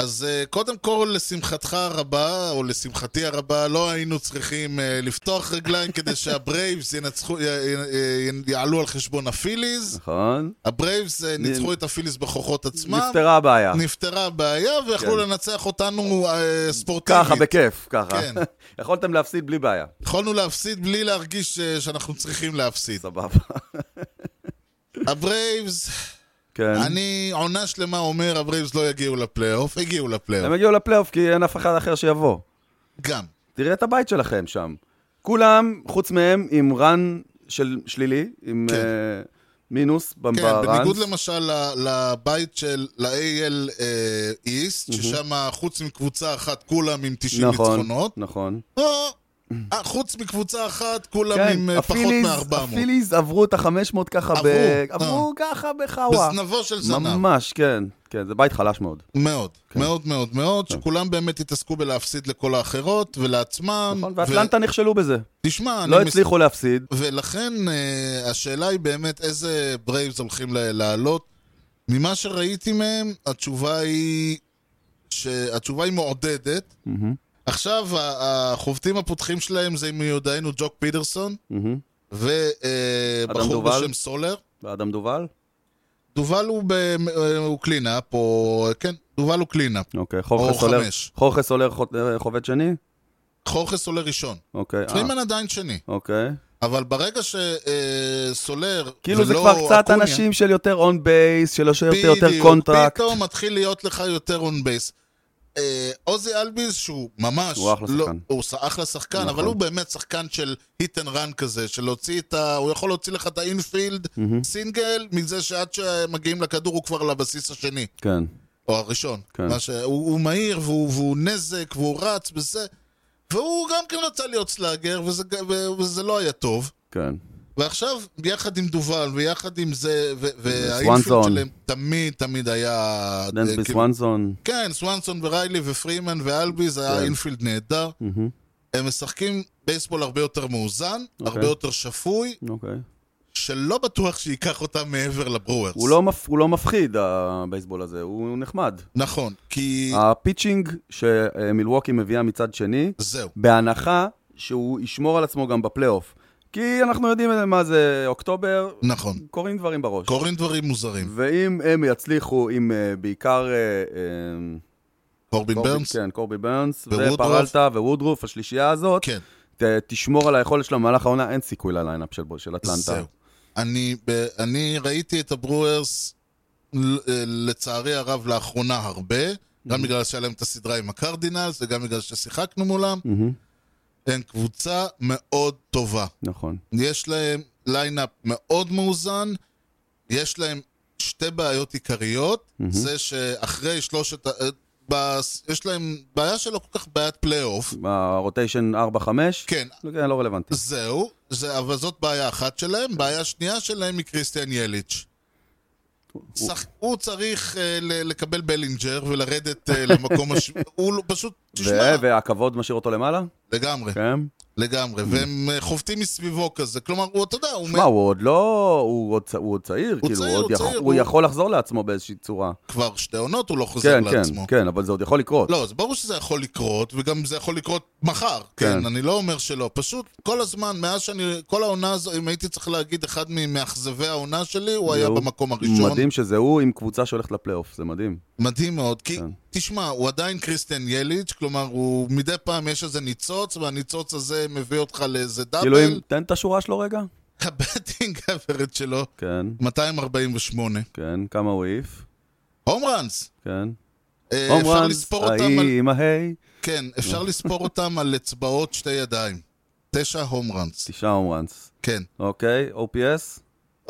Speaker 1: אז אה, קודם כל, לשמחתך הרבה, או לשמחתי הרבה, לא היינו צריכים אה, לפתוח רגליים כדי שהברייבס ינצחו, י- י- י- יעלו על חשבון הפיליז.
Speaker 2: נכון.
Speaker 1: הברייבס אה, ניצחו
Speaker 2: נ-
Speaker 1: את הפיליז בכוחות עצמם.
Speaker 2: נפתרה הבעיה.
Speaker 1: נפתרה הבעיה, ויכלו
Speaker 2: כן.
Speaker 1: לנצח אותנו אה, ספורטיבית.
Speaker 2: ככה, בכיף, ככה.
Speaker 1: כן.
Speaker 2: *laughs* יכולתם להפסיד בלי בעיה.
Speaker 1: יכולנו להפסיד בלי להרגיש אה, שאנחנו צריכים להפסיד.
Speaker 2: סבבה. *laughs*
Speaker 1: הברייבס,
Speaker 2: כן.
Speaker 1: אני עונה שלמה אומר, הברייבס לא יגיעו לפלייאוף, הגיעו
Speaker 2: הם
Speaker 1: לפלייאוף.
Speaker 2: הגיעו לפלייאוף כי אין אף אחד אחר שיבוא.
Speaker 1: גם.
Speaker 2: תראה את הבית שלכם שם. כולם, חוץ מהם, עם רן של שלילי, עם
Speaker 1: כן.
Speaker 2: אה, מינוס ב-
Speaker 1: כן,
Speaker 2: בראנס.
Speaker 1: בניגוד למשל ל- לבית של, ל-AL אה, East, ששם חוץ מקבוצה אחת כולם עם 90
Speaker 2: נכון,
Speaker 1: ניצחונות,
Speaker 2: נכון.
Speaker 1: או אה, חוץ מקבוצה אחת כולם
Speaker 2: כן,
Speaker 1: עם אה, פחות
Speaker 2: הפיליז-
Speaker 1: מ-400.
Speaker 2: הפיליז עברו את ה-500 ככה ב...
Speaker 1: עברו,
Speaker 2: עברו ככה בחאווה.
Speaker 1: בזנבו של זנב.
Speaker 2: ממש, כן. כן, זה בית חלש מאוד.
Speaker 1: מאוד,
Speaker 2: כן.
Speaker 1: מאוד מאוד מאוד, שכולם באמת התעסקו בלהפסיד לכל האחרות ולעצמם.
Speaker 2: נכון,
Speaker 1: ו-
Speaker 2: ואטלנטה נכשלו בזה.
Speaker 1: תשמע, אני
Speaker 2: לא
Speaker 1: מס-
Speaker 2: הצליחו להפסיד.
Speaker 1: ולכן אה, השאלה היא באמת איזה ברייבס הולכים ל- לעלות. ממה שראיתי מהם, התשובה היא... שהתשובה היא מעודדת.
Speaker 2: מהמם,
Speaker 1: עכשיו, ה- החובטים הפותחים שלהם זה מיודענו ג'וק פיטרסון
Speaker 2: מהמם. אדם
Speaker 1: ובחור
Speaker 2: דובל?
Speaker 1: בשם סולר.
Speaker 2: ואדם דובל?
Speaker 1: דובל הוא, ב... אה, הוא קלינאפ, או... כן, דובל הוא קלינאפ.
Speaker 2: אוקיי,
Speaker 1: או
Speaker 2: חורכה סולר.
Speaker 1: חמש.
Speaker 2: חורכה סולר חו- אה, חובד שני?
Speaker 1: חורכה סולר ראשון.
Speaker 2: אוקיי. אה,
Speaker 1: פרימן עדיין שני.
Speaker 2: אוקיי.
Speaker 1: אבל ברגע אה, שסולר,
Speaker 2: כאילו זה כבר קצת אנשים של יותר און בייס, של יותר- יותר קונטרקט.
Speaker 1: פתאום מתחיל להיות לך יותר און בייס. אה, עוזי אלביז, שהוא ממש...
Speaker 2: הוא אחלה
Speaker 1: לא-
Speaker 2: שחקן.
Speaker 1: הוא ש- אחלה שחקן,
Speaker 2: נכון.
Speaker 1: אבל הוא באמת שחקן של hit and run כזה, של להוציא את ה... הוא יכול להוציא לך את האינפילד סינגל, מזה שעד שמגיעים לכדור הוא כבר לבסיס השני,
Speaker 2: כן,
Speaker 1: או הראשון.
Speaker 2: כן.
Speaker 1: מה ש- הוא הוא מהיר, והוא והוא נזק, והוא רץ, וזה... והוא גם כן רצה להיות סלאגר, וזה ג- ו- וזה לא היה טוב.
Speaker 2: כן.
Speaker 1: ועכשיו, ביחד עם דובל, ויחד עם זה, ו- והאינפילד
Speaker 2: וסוואנסון.
Speaker 1: שלהם תמיד תמיד היה... אה,
Speaker 2: דנסבי
Speaker 1: כאילו-
Speaker 2: סוואנסון.
Speaker 1: כן, סוואנסון וריילי ופרימן ואלביז, היה
Speaker 2: כן.
Speaker 1: אינפילד נהדר.
Speaker 2: מהמם,
Speaker 1: הם משחקים בייסבול הרבה יותר מאוזן,
Speaker 2: אוקיי.
Speaker 1: הרבה יותר שפוי,
Speaker 2: אוקיי.
Speaker 1: שלא בטוח שייקח אותם מעבר לברוארס.
Speaker 2: הוא לא מפ- הוא לא מפחיד, הבייסבול הזה, הוא נחמד.
Speaker 1: נכון, כי...
Speaker 2: אה. הפיצ'ינג שמילווקי מביאה מצד שני,
Speaker 1: זהו.
Speaker 2: בהנחה שהוא ישמור על עצמו גם בפלייאוף. כי אנחנו יודעים מה זה אוקטובר,
Speaker 1: נכון.
Speaker 2: קורים דברים בראש.
Speaker 1: קורים דברים מוזרים.
Speaker 2: ואם הם יצליחו עם אה, בעיקר... אה, אה,
Speaker 1: קורבין
Speaker 2: קורבי-
Speaker 1: ברנס?
Speaker 2: כן, קורבי ברנס,
Speaker 1: ורודרוף.
Speaker 2: ופרלטה ווודרוף, השלישייה הזאת,
Speaker 1: כן.
Speaker 2: ת, תשמור על היכולת שלהם במהלך העונה, אין סיכוי לליינאפ של, של אטלנטה.
Speaker 1: זהו. אני, ב- אני ראיתי את הברוארס, ל- אה, לצערי הרב, לאחרונה הרבה, גם בגלל שהיה להם את הסדרה עם הקרדינלס, וגם בגלל ששיחקנו מולם.
Speaker 2: מהמם,
Speaker 1: הם קבוצה מאוד טובה.
Speaker 2: נכון.
Speaker 1: יש להם ליינאפ מאוד מאוזן, יש להם שתי בעיות עיקריות,
Speaker 2: מהמם.
Speaker 1: זה שאחרי שלושת... ה- אה, בס- יש להם בעיה שלא כל כך בעיית פלייאוף.
Speaker 2: הרוטיישן 4-5?
Speaker 1: כן,
Speaker 2: לא, כן, לא רלוונטי.
Speaker 1: זהו, זה, אבל זאת בעיה אחת שלהם. בעיה שנייה שלהם היא קריסטיאן יליץ'. שח... הוא צריך uh, ל- לקבל בלינג'ר
Speaker 2: *laughs*
Speaker 1: ולרדת uh, למקום הש... הוא לא- פשוט,
Speaker 2: ו-
Speaker 1: תשמע,
Speaker 2: והכבוד משאיר אותו למעלה?
Speaker 1: לגמרי.
Speaker 2: כן.
Speaker 1: לגמרי, והם אה, חובטים מסביבו כזה, כלומר, הוא, אתה יודע, הוא
Speaker 2: מה, הוא עוד לא... הוא עוד צ- הוא עוד צעיר, כאילו,
Speaker 1: צעיר,
Speaker 2: הוא עוד
Speaker 1: הוא
Speaker 2: יכול-
Speaker 1: צעיר,
Speaker 2: הוא
Speaker 1: הוא-
Speaker 2: יכול לחזור לעצמו באיזושהי צורה.
Speaker 1: כבר שתי עונות, הוא לא חוזר
Speaker 2: כן,
Speaker 1: לעצמו.
Speaker 2: כן, כן, אבל זה עוד יכול לקרות.
Speaker 1: לא, זה ברור שזה יכול לקרות, וגם זה יכול לקרות מחר. כן,
Speaker 2: כן.
Speaker 1: אני לא אומר שלא. פשוט, כל הזמן, מאז שאני... כל העונה הזו, אם הייתי צריך להגיד אחד ממאכזבי העונה שלי, הוא היה
Speaker 2: זהו.
Speaker 1: במקום הראשון.
Speaker 2: מדהים שזה הוא עם קבוצה שהולכת לפלייאוף, זה מדהים.
Speaker 1: מדהים מאוד, כי,
Speaker 2: כן.
Speaker 1: תשמע, הוא עדיין קריסטיאן יליץ', כלומר, הוא מדי פעם יש איזה ניצוץ, והניצוץ הזה מביא אותך לאיזה
Speaker 2: כאילו, אם...
Speaker 1: *laughs* דאבל.
Speaker 2: תן את השורה שלו רגע.
Speaker 1: הבטינג האברד שלו,
Speaker 2: כן,
Speaker 1: 248.
Speaker 2: כן, כמה הוא העיף.
Speaker 1: הום ראנס!
Speaker 2: כן.
Speaker 1: אה,
Speaker 2: הום
Speaker 1: אפשר
Speaker 2: ראנס,
Speaker 1: לספור אותם על...
Speaker 2: ההיא עם ההיי.
Speaker 1: כן, אפשר לספור אותם על אצבעות שתי ידיים. תשע הום ראנס,
Speaker 2: תשעה הום ראנס.
Speaker 1: כן.
Speaker 2: אוקיי, OPS?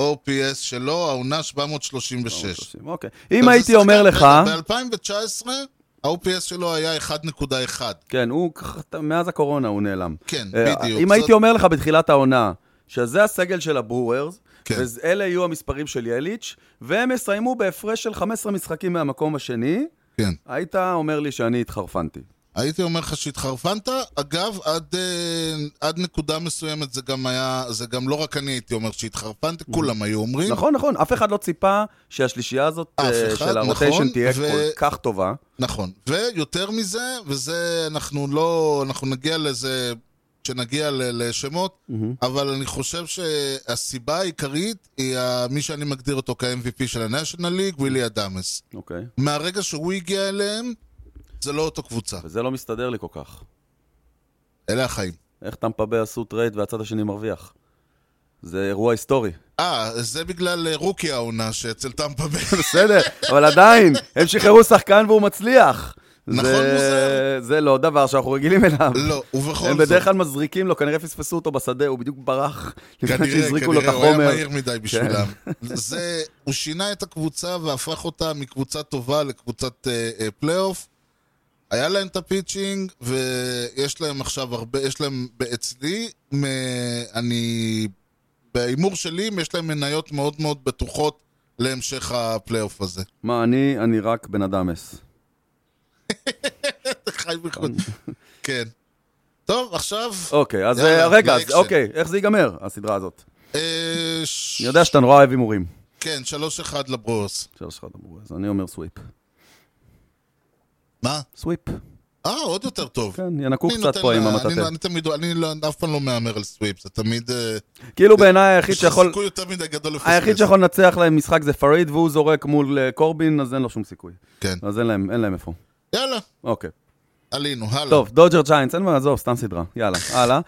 Speaker 1: OPS שלו, העונה 736.
Speaker 2: אוקיי. אם הייתי אומר לך...
Speaker 1: ב-2019, ה-OPS שלו היה 1.1.
Speaker 2: כן, הוא ככה, אתה- מאז הקורונה הוא נעלם.
Speaker 1: כן,
Speaker 2: אה,
Speaker 1: בדיוק.
Speaker 2: אם
Speaker 1: זאת-
Speaker 2: הייתי אומר לך בתחילת העונה, שזה הסגל של הברוורס,
Speaker 1: כן.
Speaker 2: ואלה יהיו המספרים של יליץ', והם יסיימו בהפרש של 15 משחקים מהמקום השני,
Speaker 1: כן.
Speaker 2: היית אומר לי שאני התחרפנתי.
Speaker 1: הייתי אומר לך שהתחרפנת, אגב, עד, אה, עד נקודה מסוימת זה גם היה, זה גם לא רק אני הייתי אומר שהתחרפנת, כולם היו אומרים.
Speaker 2: Mhm. נכון, נכון, אף אחד לא ציפה שהשלישייה הזאת
Speaker 1: אף
Speaker 2: אה,
Speaker 1: אחד,
Speaker 2: של
Speaker 1: נכון,
Speaker 2: הרוטיישן תהיה
Speaker 1: ו-
Speaker 2: כל כך טובה.
Speaker 1: נכון. ויותר מזה, וזה, אנחנו לא, אנחנו נגיע לזה כשנגיע ל- לשמות, אבל אני חושב שהסיבה העיקרית היא ה- מי שאני מגדיר אותו כ-MVP של ה-National League, ווילי אדמס.
Speaker 2: אוקיי.
Speaker 1: מהרגע שהוא הגיע אליהם, זה לא אותו קבוצה.
Speaker 2: וזה לא מסתדר לי כל כך.
Speaker 1: אלה החיים.
Speaker 2: איך טמפה ביי עשו טרייד והצד השני מרוויח? זה אירוע היסטורי.
Speaker 1: אה, זה בגלל אה, רוקי העונה שאצל טמפה ביי.
Speaker 2: *laughs*
Speaker 1: *laughs*
Speaker 2: בסדר, אבל עדיין, הם שחררו שחקן והוא מצליח.
Speaker 1: נכון,
Speaker 2: זה-
Speaker 1: מוזר. זה
Speaker 2: זה לא דבר שאנחנו רגילים אליו.
Speaker 1: לא, ובכל
Speaker 2: הם
Speaker 1: זאת.
Speaker 2: בדרך כלל מזריקים לו, כנראה פספסו אותו בשדה, הוא בדיוק ברח לפני
Speaker 1: כנראה,
Speaker 2: שהזריקו לו את
Speaker 1: כנראה, הוא היה
Speaker 2: החומר. כן.
Speaker 1: מהיר מדי בשבילם.
Speaker 2: *laughs*
Speaker 1: זה, הוא שינה את הקבוצה והפך אותה מקבוצה טובה לקבוצת אה, אה, פלייאוף. היה להם את הפיצ'ינג, ויש להם עכשיו הרבה, יש להם, אצלי, מ- אני, בהימור שלי, יש להם מניות מאוד מאוד בטוחות להמשך הפלייאוף הזה. *laughs*
Speaker 2: מה, אני אני רק בן אדם אס.
Speaker 1: חי
Speaker 2: *laughs*
Speaker 1: בחוץ. כן. טוב, עכשיו,
Speaker 2: אוקיי, אז
Speaker 1: יאללה,
Speaker 2: אה, רגע, אז
Speaker 1: לאקשן.
Speaker 2: אוקיי, איך זה ייגמר, הסדרה הזאת?
Speaker 1: אה, ש-
Speaker 2: אני יודע שאתה נורא אוהב הימורים.
Speaker 1: כן, 3-1 לברוס.
Speaker 2: שלוש אחד אמרו, אז אני אומר סוויפ.
Speaker 1: מה?
Speaker 2: סוויפ,
Speaker 1: אה, עוד יותר טוב.
Speaker 2: כן, ינקו
Speaker 1: אני
Speaker 2: קצת
Speaker 1: נותן
Speaker 2: פה עם
Speaker 1: לה-
Speaker 2: המטאטל.
Speaker 1: אני- אני תמיד, אני לא- אף פעם לא מהמר על סוויפ, זה תמיד... אה,
Speaker 2: כאילו בעיניי היחיד
Speaker 1: יש לך
Speaker 2: שיכול...
Speaker 1: סיכוי יותר מדי גדול לפספס.
Speaker 2: היחיד שיכול לנצח להם משחק זה פריד, והוא זורק מול אה, קורבין, אז אין לו שום סיכוי.
Speaker 1: כן.
Speaker 2: אז אין להם, אין להם איפה.
Speaker 1: יאללה,
Speaker 2: אוקיי.
Speaker 1: עלינו, הלאה.
Speaker 2: טוב, דודג'ר ג'יינטס, אין מה, עזוב, סתם סדרה. יאללה, הלאה.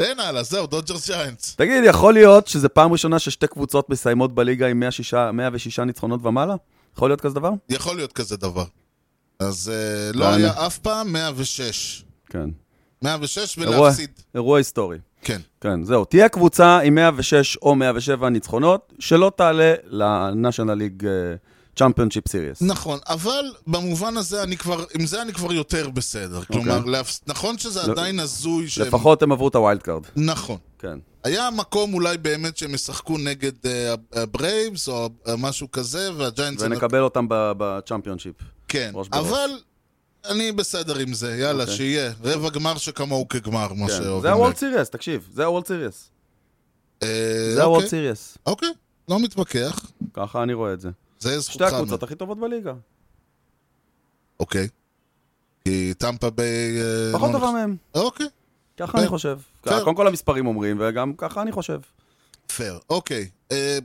Speaker 1: אין הלאה, זהו, דודג'רס ג'יינטס.
Speaker 2: תגיד, יכול להיות שזה פעם ראשונה ששתי קבוצות מסיימות בליגה עם 106 106 ניצחונות ומעלה? יכול להיות כזה דבר?
Speaker 1: יכול להיות כזה דבר. אז אה, לא
Speaker 2: לאן?
Speaker 1: היה אף פעם 106.
Speaker 2: כן.
Speaker 1: 106
Speaker 2: אירוע-
Speaker 1: ולהפסיד.
Speaker 2: אירוע היסטורי.
Speaker 1: כן.
Speaker 2: כן, זהו. תהיה קבוצה עם 106 או 107 ניצחונות, שלא תעלה ל-National League אה, Championship Series.
Speaker 1: נכון, אבל במובן הזה אני כבר, עם זה אני כבר יותר בסדר. כלומר, להפס- נכון שזה
Speaker 2: אוקיי. לא-
Speaker 1: עדיין הזוי שהם...
Speaker 2: לפחות הם עברו את הווילד קארד.
Speaker 1: נכון.
Speaker 2: כן.
Speaker 1: היה מקום אולי באמת שהם ישחקו נגד אה, הברייבס או אה, משהו כזה, והג'יינטס...
Speaker 2: ונקבל אותם בצ'מפיונשיפ.
Speaker 1: כן,
Speaker 2: ראש בראש.
Speaker 1: אבל אני בסדר עם זה, יאללה,
Speaker 2: אוקיי.
Speaker 1: שיהיה. רבע גמר שכמוהו כגמר, מה
Speaker 2: כן.
Speaker 1: שאוהבים.
Speaker 2: זה הוולד
Speaker 1: להגיד.
Speaker 2: סיריוס, תקשיב. זה הוולד סיריוס.
Speaker 1: אה,
Speaker 2: זה הוולד
Speaker 1: אוקיי,
Speaker 2: סיריוס.
Speaker 1: אוקיי, לא מתווכח.
Speaker 2: ככה אני רואה את זה.
Speaker 1: זה
Speaker 2: שתי
Speaker 1: זכותך.
Speaker 2: הקבוצות
Speaker 1: מאוד.
Speaker 2: הכי טובות בליגה.
Speaker 1: אוקיי. כי טמפה ביי... אה,
Speaker 2: פחות
Speaker 1: לא
Speaker 2: טובה
Speaker 1: נכ-
Speaker 2: מהם.
Speaker 1: אוקיי,
Speaker 2: ככה
Speaker 1: כן.
Speaker 2: אני חושב.
Speaker 1: כן.
Speaker 2: קודם כל המספרים אומרים, וגם ככה אני חושב.
Speaker 1: פייר. אוקיי. אה,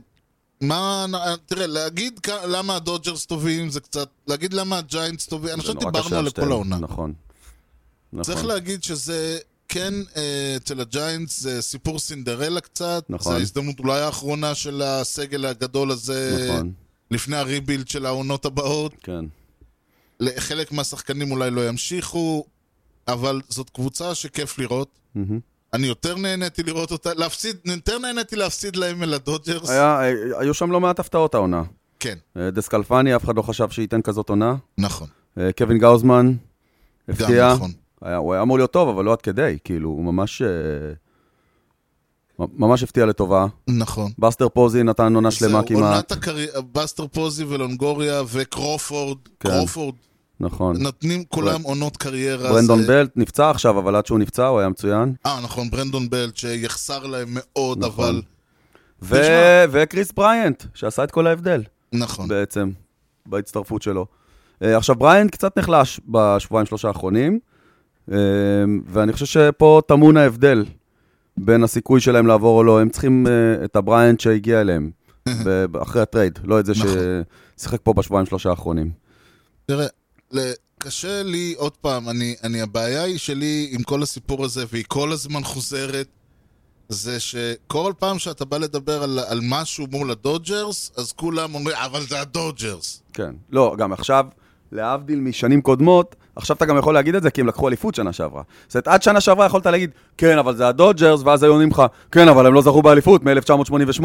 Speaker 1: מה... נ- אה, תראה, להגיד כ- למה הדודג'רס טובים זה קצת... להגיד למה הג'יינטס טובים, אני
Speaker 2: זה
Speaker 1: חושב
Speaker 2: נורא קשה
Speaker 1: שדיברנו על
Speaker 2: שתיהן.
Speaker 1: כל העונה.
Speaker 2: נכון.
Speaker 1: צריך
Speaker 2: נכון.
Speaker 1: להגיד שזה כן אה, אצל הג'יינטס זה סיפור סינדרלה קצת.
Speaker 2: נכון.
Speaker 1: זו ההזדמנות אולי האחרונה של הסגל הגדול הזה.
Speaker 2: נכון,
Speaker 1: לפני הריבילד של העונות הבאות.
Speaker 2: כן.
Speaker 1: חלק מהשחקנים אולי לא ימשיכו, אבל זאת קבוצה שכיף לראות.
Speaker 2: מהמם.
Speaker 1: אני יותר נהניתי לראות אותה, להפסיד, יותר נהניתי להפסיד להם אל הדודג'רס.
Speaker 2: היה- היו שם לא מעט הפתעות העונה.
Speaker 1: כן,
Speaker 2: אה, דסקלפני, אף אחד לא חשב שייתן כזאת עונה.
Speaker 1: נכון.
Speaker 2: אה, קווין גאוזמן,
Speaker 1: גם
Speaker 2: הפתיע.
Speaker 1: נכון.
Speaker 2: היה- הוא היה אמור להיות טוב, אבל לא עד כדי. כאילו, הוא ממש... אה, מ- ממש הפתיע לטובה.
Speaker 1: נכון.
Speaker 2: בסטר פוזי נתן עונה שלמה
Speaker 1: זהו, עונת
Speaker 2: כמעט.
Speaker 1: הקרי... בסטר פוזי ולונגוריה וקרופורד.
Speaker 2: כן.
Speaker 1: קרופורד
Speaker 2: נכון.
Speaker 1: נותנים כולם עונות קריירה.
Speaker 2: ברנדון
Speaker 1: זה-
Speaker 2: בלט נפצע עכשיו, אבל עד שהוא נפצע הוא היה מצוין.
Speaker 1: אה, נכון, ברנדון בלט, שיחסר להם מאוד,
Speaker 2: נכון.
Speaker 1: אבל...
Speaker 2: ו-
Speaker 1: תשמע.
Speaker 2: וקריס בריינט, שעשה את כל ההבדל
Speaker 1: נכון.
Speaker 2: בעצם, בהצטרפות שלו. אה, עכשיו, בריינט קצת נחלש בשבועיים שלושה האחרונים, אה, ואני חושב שפה טמון ההבדל בין הסיכוי שלהם לעבור או לא. הם צריכים אה, את הבריינט
Speaker 1: *laughs*
Speaker 2: שהגיע אליהם ב- אחרי הטרייד, לא את זה
Speaker 1: נכון.
Speaker 2: ששיחק פה בשבועיים שלושה האחרונים.
Speaker 1: תראה, ל- קשה לי, עוד פעם, אני, אני, הבעיה היא שלי עם כל הסיפור הזה, והיא כל הזמן חוזרת, זה שכל פעם שאתה בא לדבר על, על משהו מול הדודג'רס, אז כולם אומרים, אבל זה הדודג'רס.
Speaker 2: כן. לא, גם עכשיו, להבדיל משנים קודמות, עכשיו אתה גם יכול להגיד את זה, כי הם לקחו אליפות שנה שעברה. זאת אומרת, עד שנה שעברה יכולת להגיד, כן, אבל זה הדודג'רס, ואז היו עונים לך, כן, אבל הם לא זכו באליפות מ-1988.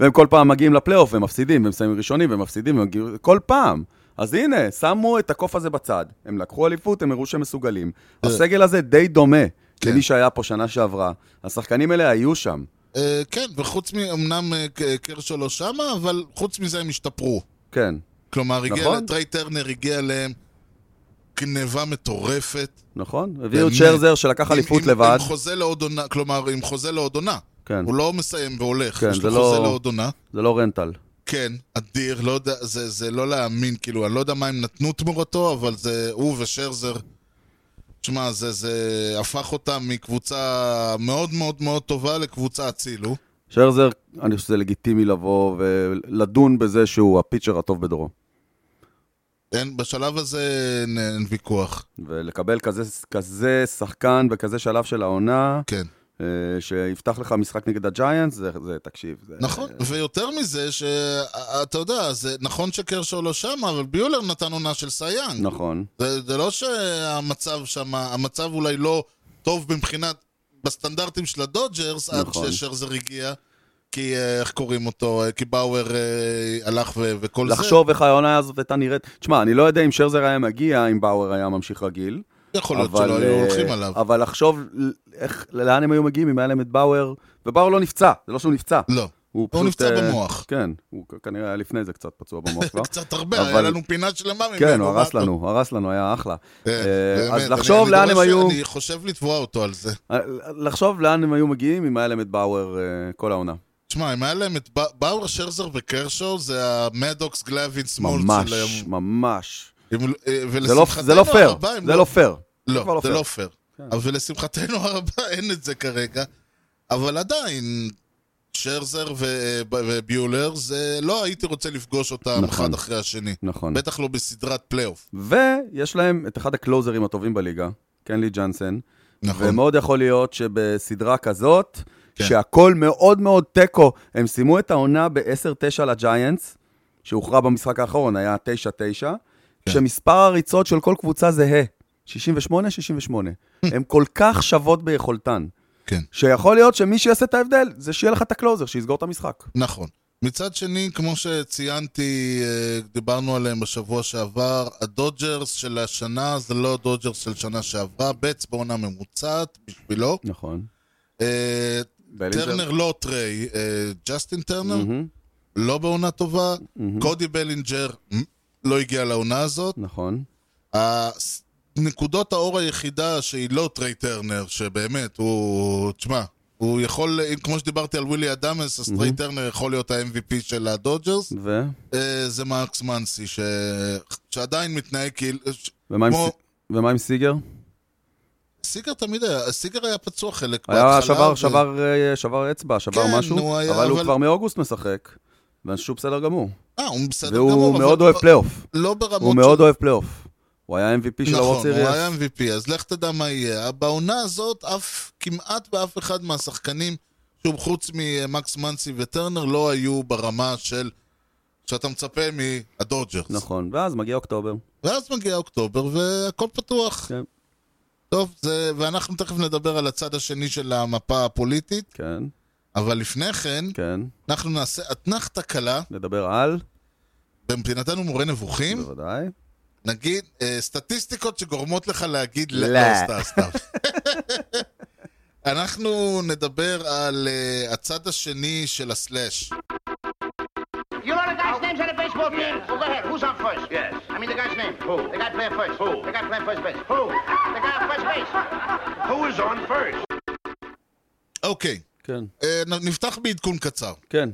Speaker 2: והם כל פעם מגיעים לפלייאוף, והם מפסידים, והם שמים ראשונים, והם מפסידים, והם מגיעים... כל פעם. אז הנה, שמו את הקוף הזה בצד. הם לקחו אליפות, הם הראו שהם מסוגלים. הסגל הזה די דומה
Speaker 1: כן.
Speaker 2: למי שהיה פה שנה שעברה. השחקנים האלה היו שם.
Speaker 1: Uh, כן, וחוץ מ... אמנם uh, קרשו לא שמה, אבל חוץ מזה הם השתפרו.
Speaker 2: כן,
Speaker 1: כלומר, הגיע,
Speaker 2: נכון.
Speaker 1: נכון? טריי טרנר הגיע אליהם גניבה מטורפת.
Speaker 2: נכון? הביאו את
Speaker 1: באמת.
Speaker 2: שרזר שלקח אליפות
Speaker 1: עם,
Speaker 2: לבד.
Speaker 1: עם, עם חוזה לעוד עונה, כלומר, עם חוזה לעוד עונה.
Speaker 2: כן,
Speaker 1: הוא לא מסיים והולך,
Speaker 2: כן,
Speaker 1: יש
Speaker 2: זה
Speaker 1: לו
Speaker 2: לא-
Speaker 1: חוזה לעוד עונה.
Speaker 2: זה לא רנטל.
Speaker 1: כן, אדיר, לא יודע, זה, זה לא להאמין, כאילו, אני לא יודע מה הם נתנו תמורתו, אבל זה הוא ושרזר. תשמע, זה, זה הפך אותם מקבוצה מאוד מאוד מאוד טובה לקבוצה הצילו.
Speaker 2: שרזר, אני חושב שזה לגיטימי לבוא ולדון בזה שהוא הפיצ'ר הטוב בדורו.
Speaker 1: אין, בשלב הזה אין, אין ויכוח,
Speaker 2: ולקבל כזה, כזה שחקן בכזה שלב של העונה,
Speaker 1: כן.
Speaker 2: אה, שיפתח לך משחק נגד הג'יינטס, זה, זה תקשיב. זה,
Speaker 1: נכון, ויותר מזה, שאתה יודע, זה נכון שקרשו לא שם, אבל ביולר נתן עונה של סייאנג.
Speaker 2: נכון,
Speaker 1: זה, זה לא שהמצב שם, המצב אולי לא טוב מבחינת, בסטנדרטים של הדודג'רס, נכון.
Speaker 2: נכון.
Speaker 1: עד ששרזר הגיע, כי אה, איך קוראים אותו, אה, כי באואר אה, הלך ו- וכל
Speaker 2: לחשוב איך העונה הזאת הייתה נראית. תשמע, אני לא יודע אם שרזר היה מגיע, אם באואר היה ממשיך רגיל.
Speaker 1: זה. יכול להיות
Speaker 2: אבל,
Speaker 1: שלא היו
Speaker 2: אה,
Speaker 1: הולכים עליו.
Speaker 2: אבל לחשוב איך, לאן הם היו מגיעים אם היה להם את באואר, ובאואר לא נפצע, זה לא שהוא נפצע.
Speaker 1: לא,
Speaker 2: הוא
Speaker 1: הוא
Speaker 2: פשוט,
Speaker 1: נפצע
Speaker 2: אה,
Speaker 1: במוח.
Speaker 2: כן, הוא כ- כנראה היה לפני זה קצת פצוע במוח כבר.
Speaker 1: *laughs* קצת הרבה, היה
Speaker 2: אבל-
Speaker 1: לנו פינה שלמה *laughs* ממנו.
Speaker 2: כן, הוא
Speaker 1: מה
Speaker 2: הרס
Speaker 1: אתה-
Speaker 2: לנו, הרס לנו, היה אחלה.
Speaker 1: כן,
Speaker 2: אה,
Speaker 1: באמת,
Speaker 2: אז
Speaker 1: אני-
Speaker 2: לחשוב
Speaker 1: אני
Speaker 2: לאן הם
Speaker 1: דורש-
Speaker 2: היו-
Speaker 1: אני חושב לתבוע אותו על זה.
Speaker 2: אה, לחשוב לאן הם היו מגיעים אם היה להם את באואר אה, כל העונה.
Speaker 1: תשמע, אם היה להם את בא- באואר, שרזר וקרשו, זה המדוקס גלווין סמולט
Speaker 2: ממש,
Speaker 1: שלהם.
Speaker 2: ממש.
Speaker 1: אם- אה,
Speaker 2: זה לא- זה לא
Speaker 1: ולשמחתנו
Speaker 2: פייר,
Speaker 1: הרבה הם
Speaker 2: זה לא פייר. כבר
Speaker 1: לא,
Speaker 2: לא
Speaker 1: זה
Speaker 2: פייר.
Speaker 1: לא פייר. אבל לשמחתנו *laughs* הרבה אין את זה כרגע. אבל עדיין, שרזר ו- וביולר, זה לא הייתי רוצה לפגוש אותם
Speaker 2: נכון.
Speaker 1: אחד אחרי השני.
Speaker 2: נכון.
Speaker 1: בטח לא בסדרת פלייאוף.
Speaker 2: ויש להם את אחד הקלוזרים הטובים בליגה, קנלי ג'אנסן,
Speaker 1: נכון.
Speaker 2: ומאוד יכול להיות שבסדרה כזאת,
Speaker 1: כן.
Speaker 2: שהכל מאוד מאוד תיקו, הם סיימו את העונה ב-10-9 לג'יינטס, שהוכרע במשחק האחרון, היה 9-9,
Speaker 1: כן.
Speaker 2: כשמספר הריצות של כל קבוצה זהה, 68-68.
Speaker 1: *laughs*
Speaker 2: הן כל כך שוות ביכולתן.
Speaker 1: כן.
Speaker 2: שיכול להיות שמי שיעשה את ההבדל, זה שיהיה לך את הקלוזר, שיסגור את המשחק.
Speaker 1: נכון. מצד שני, כמו שציינתי, אה, דיברנו עליהם בשבוע שעבר, הדודג'רס של השנה זה לא הדודג'רס של שנה שעברה, בטס בעונה ממוצעת בשבילו.
Speaker 2: נכון.
Speaker 1: אה, טרנר לא טריי, אה, ג'סטין טרנר, לא בעונה טובה. קודי בלינג'ר מ- לא הגיע לעונה הזאת.
Speaker 2: נכון.
Speaker 1: הס- נקודות האור היחידה שהיא לא טריי טרנר, שבאמת, הוא... תשמע, הוא יכול, אם- כמו שדיברתי על ווילי אדמס, אז טריי טרנר יכול להיות ה-MVP של הדודג'רס.
Speaker 2: ו?
Speaker 1: אה, זה מרקס מנסי, ש... שעדיין מתנהג כאילו... ש-
Speaker 2: ומה עם
Speaker 1: כמו-
Speaker 2: ס- ומה עם סיגר?
Speaker 1: סיגר תמיד היה, סיגר היה פצוע חלק
Speaker 2: היה שבר,
Speaker 1: ו-
Speaker 2: שבר, אה, שבר אצבע, שבר
Speaker 1: כן,
Speaker 2: משהו,
Speaker 1: הוא היה,
Speaker 2: אבל הוא
Speaker 1: אבל-
Speaker 2: כבר מאוגוסט משחק, ושהוא בסדר גמור.
Speaker 1: אה, הוא בסדר גמור,
Speaker 2: והוא
Speaker 1: אבל
Speaker 2: מאוד אוהב
Speaker 1: כבר-
Speaker 2: פלייאוף.
Speaker 1: לא ברמות
Speaker 2: הוא מאוד אוהב פלייאוף. הוא היה MVP של הוורד
Speaker 1: נכון, הוא היה
Speaker 2: סיריאס.
Speaker 1: MVP, אז לך תדע מה יהיה. בעונה הזאת, אף, כמעט באף אחד מהשחקנים, שוב, חוץ ממקס מנסי וטרנר, לא היו ברמה של... שאתה מצפה מהדודג'רס.
Speaker 2: נכון, ואז מגיע אוקטובר.
Speaker 1: ואז מגיע אוקטובר והכל פתוח.
Speaker 2: כן.
Speaker 1: טוב, זה, ואנחנו תכף נדבר על הצד השני של המפה הפוליטית,
Speaker 2: כן,
Speaker 1: אבל לפני כן,
Speaker 2: כן.
Speaker 1: אנחנו נעשה אתנחתא קלה,
Speaker 2: נדבר על,
Speaker 1: במדינתנו מורה נבוכים,
Speaker 2: בוודאי.
Speaker 1: נגיד, אה, סטטיסטיקות שגורמות לך להגיד
Speaker 2: לא.
Speaker 1: לא, לא, סתם, סתם. אנחנו נדבר על אה, הצד השני של הסלאש.
Speaker 5: You know the guy's names on the baseball team? Well, go ahead. Who's on first? Yes. I mean the guy's name. Who? The guy playing first. Who? The guy playing first base. Who? The guy on first base. Who is on first?
Speaker 1: אוקיי,
Speaker 2: כן,
Speaker 1: אה, נ- נפתח בעדכון קצר.
Speaker 2: כן.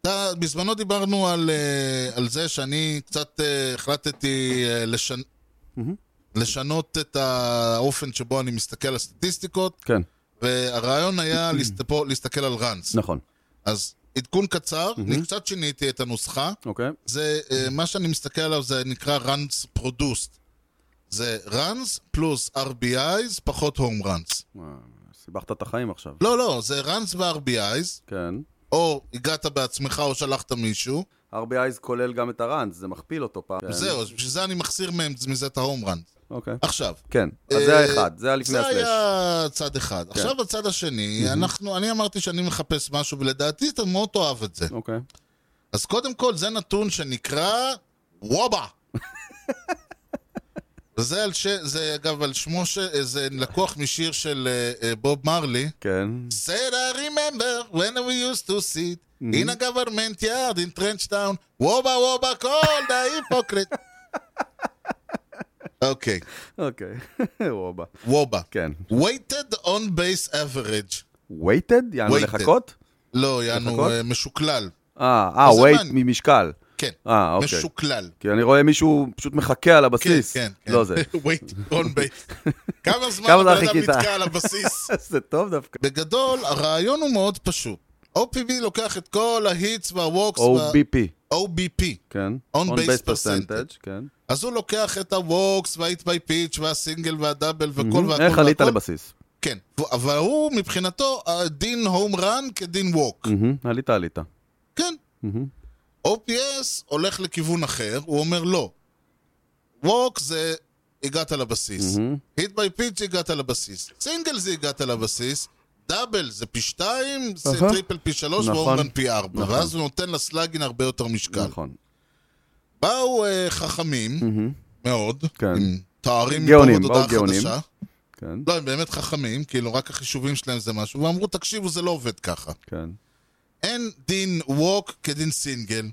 Speaker 1: אתה, בזמנו דיברנו על, אה, על זה שאני קצת אה, החלטתי אה, לשנ... לשנות את האופן שבו אני מסתכל על הסטטיסטיקות,
Speaker 2: כן,
Speaker 1: והרעיון היה להסת... פה, להסתכל על ראנס.
Speaker 2: נכון.
Speaker 1: אז עדכון קצר, אני קצת שיניתי את הנוסחה.
Speaker 2: אוקיי.
Speaker 1: זה, אה, מה שאני מסתכל עליו זה נקרא runs produced. זה runs פלוס RBIs פחות home runs.
Speaker 2: וואו, אה, סיבכת את החיים עכשיו.
Speaker 1: לא, לא, זה runs ו-RBIs,
Speaker 2: כן.
Speaker 1: או הגעת בעצמך או שלחת מישהו.
Speaker 2: RBI's כולל גם את הראנס, זה מכפיל אותו פעם. כן.
Speaker 1: זהו, אז בשביל זה אני מחסיר מהם מזה את ההום runs.
Speaker 2: אוקיי.
Speaker 1: עכשיו.
Speaker 2: כן, אז זה
Speaker 1: אה,
Speaker 2: האחד, זה היה לפני כן.
Speaker 1: זה
Speaker 2: הסלאש.
Speaker 1: היה צד אחד. עכשיו הצד השני, אנחנו, אני אמרתי שאני מחפש משהו, ולדעתי אתה מאוד תאהב את זה.
Speaker 2: אוקיי.
Speaker 1: אז קודם כל, זה נתון שנקרא
Speaker 2: *laughs*
Speaker 1: וובה. וזה על ש... זה אגב על שמו ש... זה לקוח משיר של אה, אה, בוב מרלי.
Speaker 2: כן.
Speaker 1: said I remember when we used to sit
Speaker 2: Mm-hmm.
Speaker 1: in a government yard in trench town, וובה וובה כל ההיפוקריט.
Speaker 2: *laughs*
Speaker 1: אוקיי,
Speaker 2: אוקיי. *laughs* רובה.
Speaker 1: וובה.
Speaker 2: כן.
Speaker 1: weighted on base average.
Speaker 2: וייטד? יענו
Speaker 1: Weighted.
Speaker 2: לחכות?
Speaker 1: לא, יענו
Speaker 2: לחכות?
Speaker 1: אה, משוקלל.
Speaker 2: אה, אה,
Speaker 1: זה
Speaker 2: וייט
Speaker 1: מעניין.
Speaker 2: ממשקל.
Speaker 1: כן,
Speaker 2: אה, אוקיי.
Speaker 1: משוקלל.
Speaker 2: כי אני רואה מישהו פשוט מחכה על הבסיס.
Speaker 1: כן, כן. *laughs*
Speaker 2: לא זה. *laughs*
Speaker 1: wait on base. כמה זמן
Speaker 2: כמה זמן
Speaker 1: הבן אדם
Speaker 2: חיכית?
Speaker 1: נתקע על
Speaker 2: *laughs*
Speaker 1: הבסיס?
Speaker 2: זה טוב דווקא.
Speaker 1: בגדול, הרעיון הוא מאוד פשוט. OPB לוקח את כל ההיטס והווקס
Speaker 2: OBP.
Speaker 1: OBP.
Speaker 2: כן.
Speaker 1: On base percentage,
Speaker 2: כן.
Speaker 1: אז הוא לוקח את הווקס וההיט ביי פיץ' והסינגל והדאבל וכל
Speaker 2: Mhm.
Speaker 1: והכל.
Speaker 2: איך עלית
Speaker 1: והכל.
Speaker 2: לבסיס?
Speaker 1: כן. אבל הוא, מבחינתו, דין הום רן כדין ווק.
Speaker 2: Mhm, עלית, עלית.
Speaker 1: כן. OPS הולך לכיוון אחר, הוא אומר לא. ווק זה הגעת לבסיס. היט ביי פיץ' הגעת לבסיס. סינגל זה הגעת לבסיס. דאבל זה פי שתיים, זה
Speaker 2: אהה.
Speaker 1: טריפל פי שלוש
Speaker 2: נכון.
Speaker 1: והאומרן פי ארבע.
Speaker 2: נכון.
Speaker 1: ואז הוא נותן לסלאגין הרבה יותר משקל.
Speaker 2: נכון.
Speaker 1: באו אה, חכמים, מאוד,
Speaker 2: כן.
Speaker 1: עם תארים
Speaker 2: גאונים,
Speaker 1: מפה ועד
Speaker 2: באו
Speaker 1: הודעה
Speaker 2: גאונים.
Speaker 1: חדשה.
Speaker 2: כן,
Speaker 1: לא, הם באמת חכמים, כאילו רק החישובים שלהם זה משהו, ואמרו, תקשיבו, זה לא עובד ככה.
Speaker 2: כן.
Speaker 1: אין דין ווק כדין סינגל,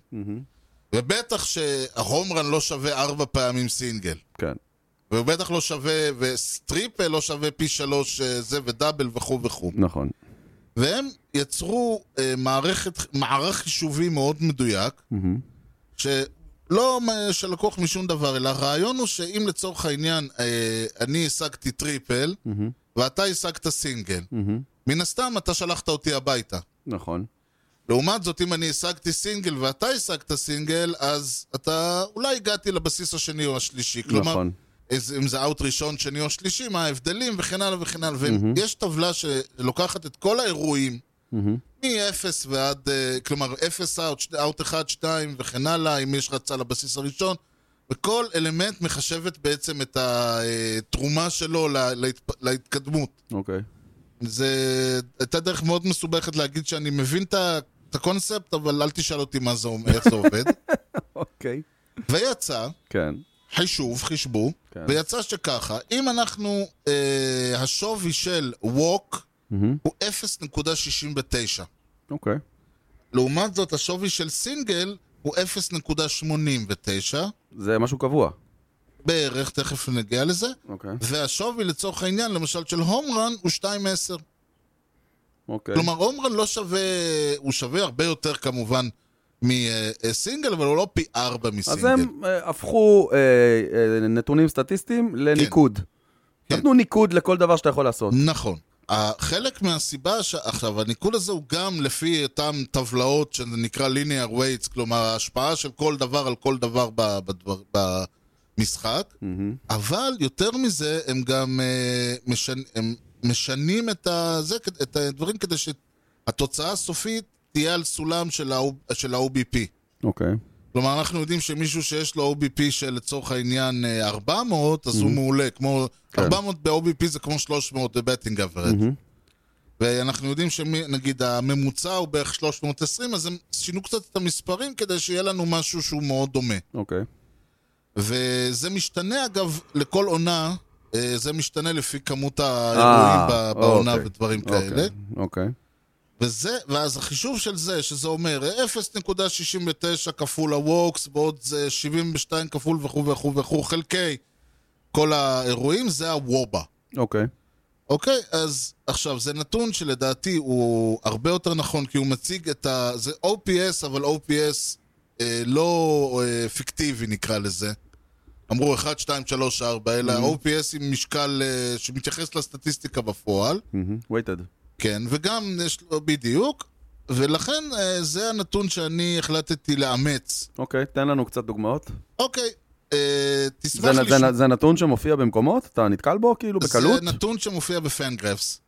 Speaker 1: ובטח שההומרן לא שווה ארבע פעמים סינגל,
Speaker 2: כן.
Speaker 1: והוא בטח לא שווה, וטריפל לא שווה פי שלוש אה, זה ודאבל וכו' וכו'.
Speaker 2: נכון.
Speaker 1: והם יצרו אה, מערכת, מערך חישובי מאוד מדויק, שלא מ- שלקוח משום דבר, אלא הרעיון הוא שאם לצורך העניין אה, אני השגתי טריפל, ואתה השגת סינגל, מן הסתם אתה שלחת אותי הביתה.
Speaker 2: נכון.
Speaker 1: לעומת זאת, אם אני השגתי סינגל ואתה השגת סינגל, אז אתה אולי הגעתי לבסיס השני או השלישי. כלומר,
Speaker 2: נכון.
Speaker 1: איזה- אם זה אאוט ראשון, שני או שלישי, מה ההבדלים וכן הלאה וכן הלאה. ויש טבלה שלוקחת את כל האירועים, מ-0 ועד, אה, כלומר, 0 אאוט, שני- אאוט 1, 2 וכן הלאה, אם יש רצה לבסיס הראשון, וכל אלמנט מחשבת בעצם את התרומה שלו לה- להתפ- להתקדמות.
Speaker 2: אוקיי.
Speaker 1: זה הייתה דרך מאוד מסובכת להגיד שאני מבין את ה- את הקונספט, אבל אל תשאל אותי מה זה, אומר, איך זה עובד.
Speaker 2: אוקיי.
Speaker 1: ויצא
Speaker 2: כן.
Speaker 1: חישוב, חישבו,
Speaker 2: כן.
Speaker 1: ויצא שככה, אם אנחנו, אה, השווי של ווק הוא 0.69.
Speaker 2: אוקיי.
Speaker 1: לעומת זאת, השווי של סינגל הוא 0.89,
Speaker 2: זה משהו קבוע.
Speaker 1: בערך, תכף נגיע לזה,
Speaker 2: אוקיי.
Speaker 1: והשווי לצורך העניין, למשל של הומרן, הוא 2.10.
Speaker 2: אוקיי.
Speaker 1: כלומר, הומרן לא שווה, הוא שווה הרבה יותר כמובן מסינגל, אבל הוא לא פי ארבע
Speaker 2: אז
Speaker 1: מסינגל.
Speaker 2: הם אה, הפכו אה, אה, נתונים סטטיסטיים לניקוד.
Speaker 1: כן.
Speaker 2: נתנו ניקוד לכל דבר שאתה יכול לעשות.
Speaker 1: נכון. ה- חלק מהסיבה, ש... עכשיו, הניקוד הזה הוא גם לפי אותן טבלאות שזה נקרא linear weights, כלומר ההשפעה של כל דבר על כל דבר ב... בדבר... במשחק, אבל יותר מזה, הם גם אה, משנ... הם משנים את, ה... זה, כ- את הדברים כדי שהתוצאה הסופית תהיה על סולם של, ה... של ה-OBP.
Speaker 2: אוקיי.
Speaker 1: כלומר, אנחנו יודעים שמישהו שיש לו OBP של לצורך העניין אה, 400, אז
Speaker 2: Mm-hmm.
Speaker 1: הוא מעולה. כמו,
Speaker 2: כן.
Speaker 1: 400 ב-OBP זה כמו 300 בבטינג אברד.
Speaker 2: Mm-hmm.
Speaker 1: ואנחנו יודעים שנגיד הממוצע הוא בערך 320, אז הם שינו קצת את המספרים כדי שיהיה לנו משהו שהוא מאוד דומה.
Speaker 2: אוקיי.
Speaker 1: וזה משתנה אגב לכל עונה, אה, זה משתנה לפי כמות
Speaker 2: אה,
Speaker 1: האירועים ב- בעונה
Speaker 2: אוקיי.
Speaker 1: ודברים
Speaker 2: אוקיי.
Speaker 1: כאלה.
Speaker 2: אוקיי.
Speaker 1: וזה, ואז החישוב של זה, שזה אומר 0.69 כפול הווקס, ועוד זה 72 כפול וכו' וכו' וכו', חלקי כל האירועים, זה הוובה.
Speaker 2: אוקיי.
Speaker 1: אוקיי, אז עכשיו, זה נתון שלדעתי הוא הרבה יותר נכון, כי הוא מציג את ה... זה OPS, אבל OPS אה, לא אה, פיקטיבי נקרא לזה. אמרו 1, 2, 3, 4, אלא OPS עם משקל אה, שמתייחס לסטטיסטיקה בפועל.
Speaker 2: וייטד.
Speaker 1: כן, וגם יש לו בדיוק, ולכן אה, זה הנתון שאני החלטתי לאמץ.
Speaker 2: אוקיי, תן לנו קצת דוגמאות.
Speaker 1: אוקיי, אה,
Speaker 2: זה,
Speaker 1: תשמח
Speaker 2: נ- זה,
Speaker 1: לשמוע.
Speaker 2: נ- זה נתון שמופיע במקומות? אתה נתקל בו כאילו בקלות?
Speaker 1: זה נתון שמופיע בפנגרפס.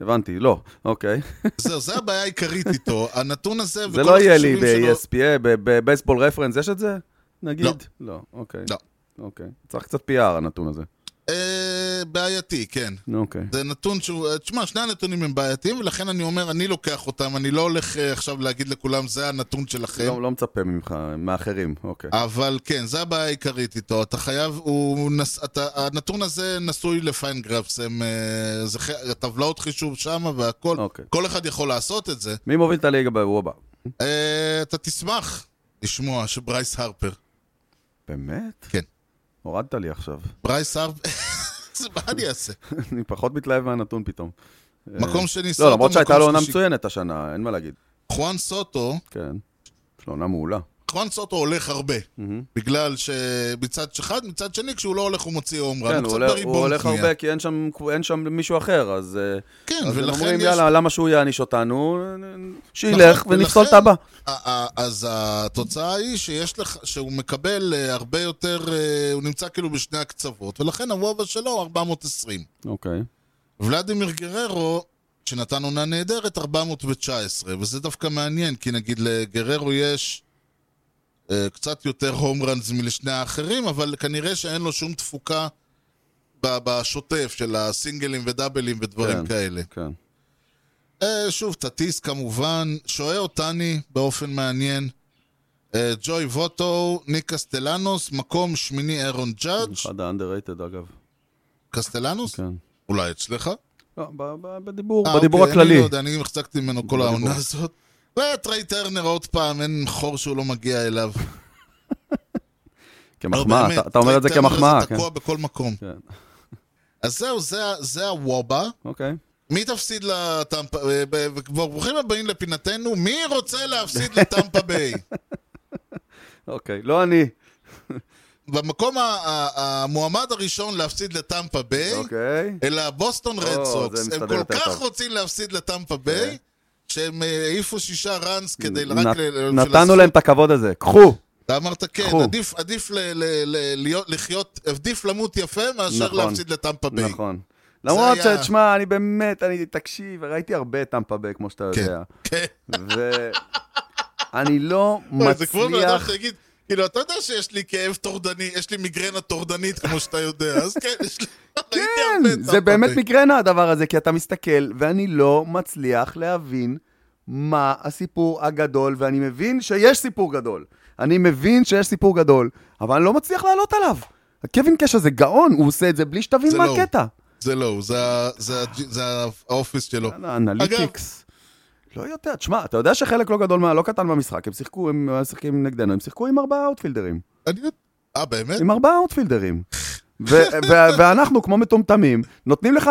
Speaker 2: הבנתי, לא. אוקיי.
Speaker 1: זהו, זה הבעיה
Speaker 2: *laughs*
Speaker 1: העיקרית איתו. הנתון הזה וכל
Speaker 2: זה לא יהיה לי
Speaker 1: החישובים שלו-
Speaker 2: ב-ESPN, בבייסבול רפרנס, יש את זה? נגיד?
Speaker 1: לא.
Speaker 2: לא, אוקיי.
Speaker 1: לא.
Speaker 2: אוקיי. צריך קצת PR הנתון הזה.
Speaker 1: אה, בעייתי, כן.
Speaker 2: אוקיי.
Speaker 1: זה נתון שהוא, אה, תשמע, שני הנתונים הם בעייתיים, ולכן אני אומר, אני לוקח אותם, אני לא הולך אה, עכשיו להגיד לכולם, זה הנתון שלכם.
Speaker 2: לא, לא מצפה ממך, מאחרים, אוקיי.
Speaker 1: אבל כן, זה הבעיה העיקרית איתו. אתה חייב, הוא נס... אתה... הנתון הזה נשוי לפיינגרפס, הם... אה, זה ח... טבלאות חישוב שם והכל.
Speaker 2: אוקיי.
Speaker 1: כל אחד יכול לעשות את זה.
Speaker 2: מי מוביל את הליגה בוובא?
Speaker 1: אה, אתה תשמח לשמוע שברייס הרפר.
Speaker 2: באמת?
Speaker 1: כן.
Speaker 2: הורדת לי עכשיו. *laughs*
Speaker 1: ברייס הרפר... *laughs* זה מה אני אעשה?
Speaker 2: אני פחות מתלהב מהנתון פתאום.
Speaker 1: מקום שני, סוטו,
Speaker 2: לא, למרות שהייתה לו
Speaker 1: מקום
Speaker 2: עונה
Speaker 1: שלישי.
Speaker 2: מצוינת השנה, אין מה להגיד.
Speaker 1: חואן סוטו,
Speaker 2: כן. יש לו עונה מעולה.
Speaker 1: חואן סוטו הולך הרבה. בגלל שמצד אחד, מצד שני, כשהוא לא הולך הוא מוציא הומרן.
Speaker 2: כן,
Speaker 1: הוא
Speaker 2: הוא
Speaker 1: קצת
Speaker 2: הולך-
Speaker 1: בריבון
Speaker 2: הוא הולך
Speaker 1: שנייה.
Speaker 2: הרבה, כי אין שם- אין שם מישהו אחר, אז... אה,
Speaker 1: כן,
Speaker 2: אז הם
Speaker 1: ולכן
Speaker 2: אומרים,
Speaker 1: יש-
Speaker 2: יאללה, למה שהוא יעניש אותנו? שילך
Speaker 1: נכון,
Speaker 2: ונפסול את
Speaker 1: ולכן-
Speaker 2: הבא.
Speaker 1: ה- ה- אה, אז התוצאה היא שיש לך, שהוא מקבל אה, הרבה יותר, אה, הוא נמצא כאילו בשני הקצוות, ולכן הוובה שלו הוא 420.
Speaker 2: אוקיי.
Speaker 1: ולדימיר גררו, שנתן עונה נהדרת, 419, וזה דווקא מעניין, כי נגיד לגררו יש אה, קצת יותר הום ראנס מלשני האחרים, אבל כנראה שאין לו שום תפוקה ב- בשוטף של הסינגלים ודאבלים ודברים
Speaker 2: כן.
Speaker 1: כאלה.
Speaker 2: כן.
Speaker 1: אה, שוב, טטיס כמובן, שוהה אותני באופן מעניין. אה, ג'וי ווטו, ניק קסטלנוס, מקום שמיני אירון ג'אדג'.
Speaker 2: אחד האנדררייטד, אגב.
Speaker 1: קסטלנוס?
Speaker 2: נכון. כן.
Speaker 1: אולי אצלך?
Speaker 2: לא, ב- ב- בדיבור,
Speaker 1: אה,
Speaker 2: בדיבור
Speaker 1: אוקיי, אני
Speaker 2: הכללי.
Speaker 1: לא יודע, אני החזקתי ממנו כל
Speaker 2: בדיבור.
Speaker 1: העונה הזאת. וטריי טרנר עוד פעם, אין חור שהוא לא מגיע אליו. לא,
Speaker 2: כמחמאה,
Speaker 1: באמת,
Speaker 2: אתה- אתה אומר את זה
Speaker 1: טריי טרנר
Speaker 2: כמחמאה.
Speaker 1: זה
Speaker 2: כן.
Speaker 1: תקוע בכל מקום.
Speaker 2: כן.
Speaker 1: אז זהו, זה ה- זה הוובה.
Speaker 2: אוקיי.
Speaker 1: מי תפסיד לטמפה... אה, ב- ב- ברוכים הבאים לפינתנו, מי רוצה להפסיד לטמפה ביי?
Speaker 2: אוקיי. לא אני.
Speaker 1: במקום ה- ה- המועמד הראשון להפסיד לטמפה ביי,
Speaker 2: אוקיי.
Speaker 1: אלא הבוסטון
Speaker 2: או,
Speaker 1: רד סוקס.
Speaker 2: זה
Speaker 1: הם
Speaker 2: מסתדר
Speaker 1: כל
Speaker 2: יותר
Speaker 1: כך
Speaker 2: טוב. אוקיי.
Speaker 1: רוצים להפסיד לטמפה ביי, שהם אה, העיפו שישה ראנס כדי
Speaker 2: נ-
Speaker 1: רק...
Speaker 2: נת-
Speaker 1: ל- ל- של
Speaker 2: נתנו
Speaker 1: הזכות.
Speaker 2: להם את הכבוד הזה. קחו.
Speaker 1: אתה אמרת כן,
Speaker 2: קחו.
Speaker 1: עדיף- עדיף ל- ל- ל- להיות- לחיות, עדיף למות יפה מאשר
Speaker 2: נכון.
Speaker 1: להפסיד לטמפה ביי.
Speaker 2: נכון. למרות
Speaker 1: היה-
Speaker 2: שתשמע, אני באמת, אני, תקשיב, ראיתי הרבה טמפה ביי, כמו שאתה
Speaker 1: כן,
Speaker 2: יודע.
Speaker 1: כן.
Speaker 2: *laughs* ואני לא
Speaker 1: וואי, זה כמו בן אדם
Speaker 2: מצליח...
Speaker 1: שיגיד, כאילו, אתה יודע שיש לי כאב טורדני, יש לי מיגרנה טורדנית, כמו שאתה יודע, אז כן, יש לי... ראיתי
Speaker 2: כן,
Speaker 1: הרבה
Speaker 2: זה
Speaker 1: טמפה
Speaker 2: באמת
Speaker 1: ביי.
Speaker 2: מיגרנה הדבר הזה, כי אתה מסתכל, ואני לא מצליח להבין מה הסיפור הגדול, ואני מבין שיש סיפור גדול. אני מבין שיש סיפור גדול, אבל אני לא מצליח לעלות עליו. הקווין קאש הזה גאון, הוא עושה את זה בלי שתבין
Speaker 1: זה
Speaker 2: מה
Speaker 1: לא הוא.
Speaker 2: הקטע.
Speaker 1: זה לא, הוא, זה ה- זה ה- זה האופיס שלו.
Speaker 2: יאללה, אה, אנליטיקס. לא יודע, תשמע, אתה יודע שחלק לא גדול, מה- לא קטן מהמשחק, הם שיחקו, הם משחקים נגדנו, הם שיחקו עם ארבעה אאוטפילדרים.
Speaker 1: אני... אה, באמת?
Speaker 2: עם ארבעה אאוטפילדרים. ו- ו- ואנחנו, כמו מטומטמים, נותנים לך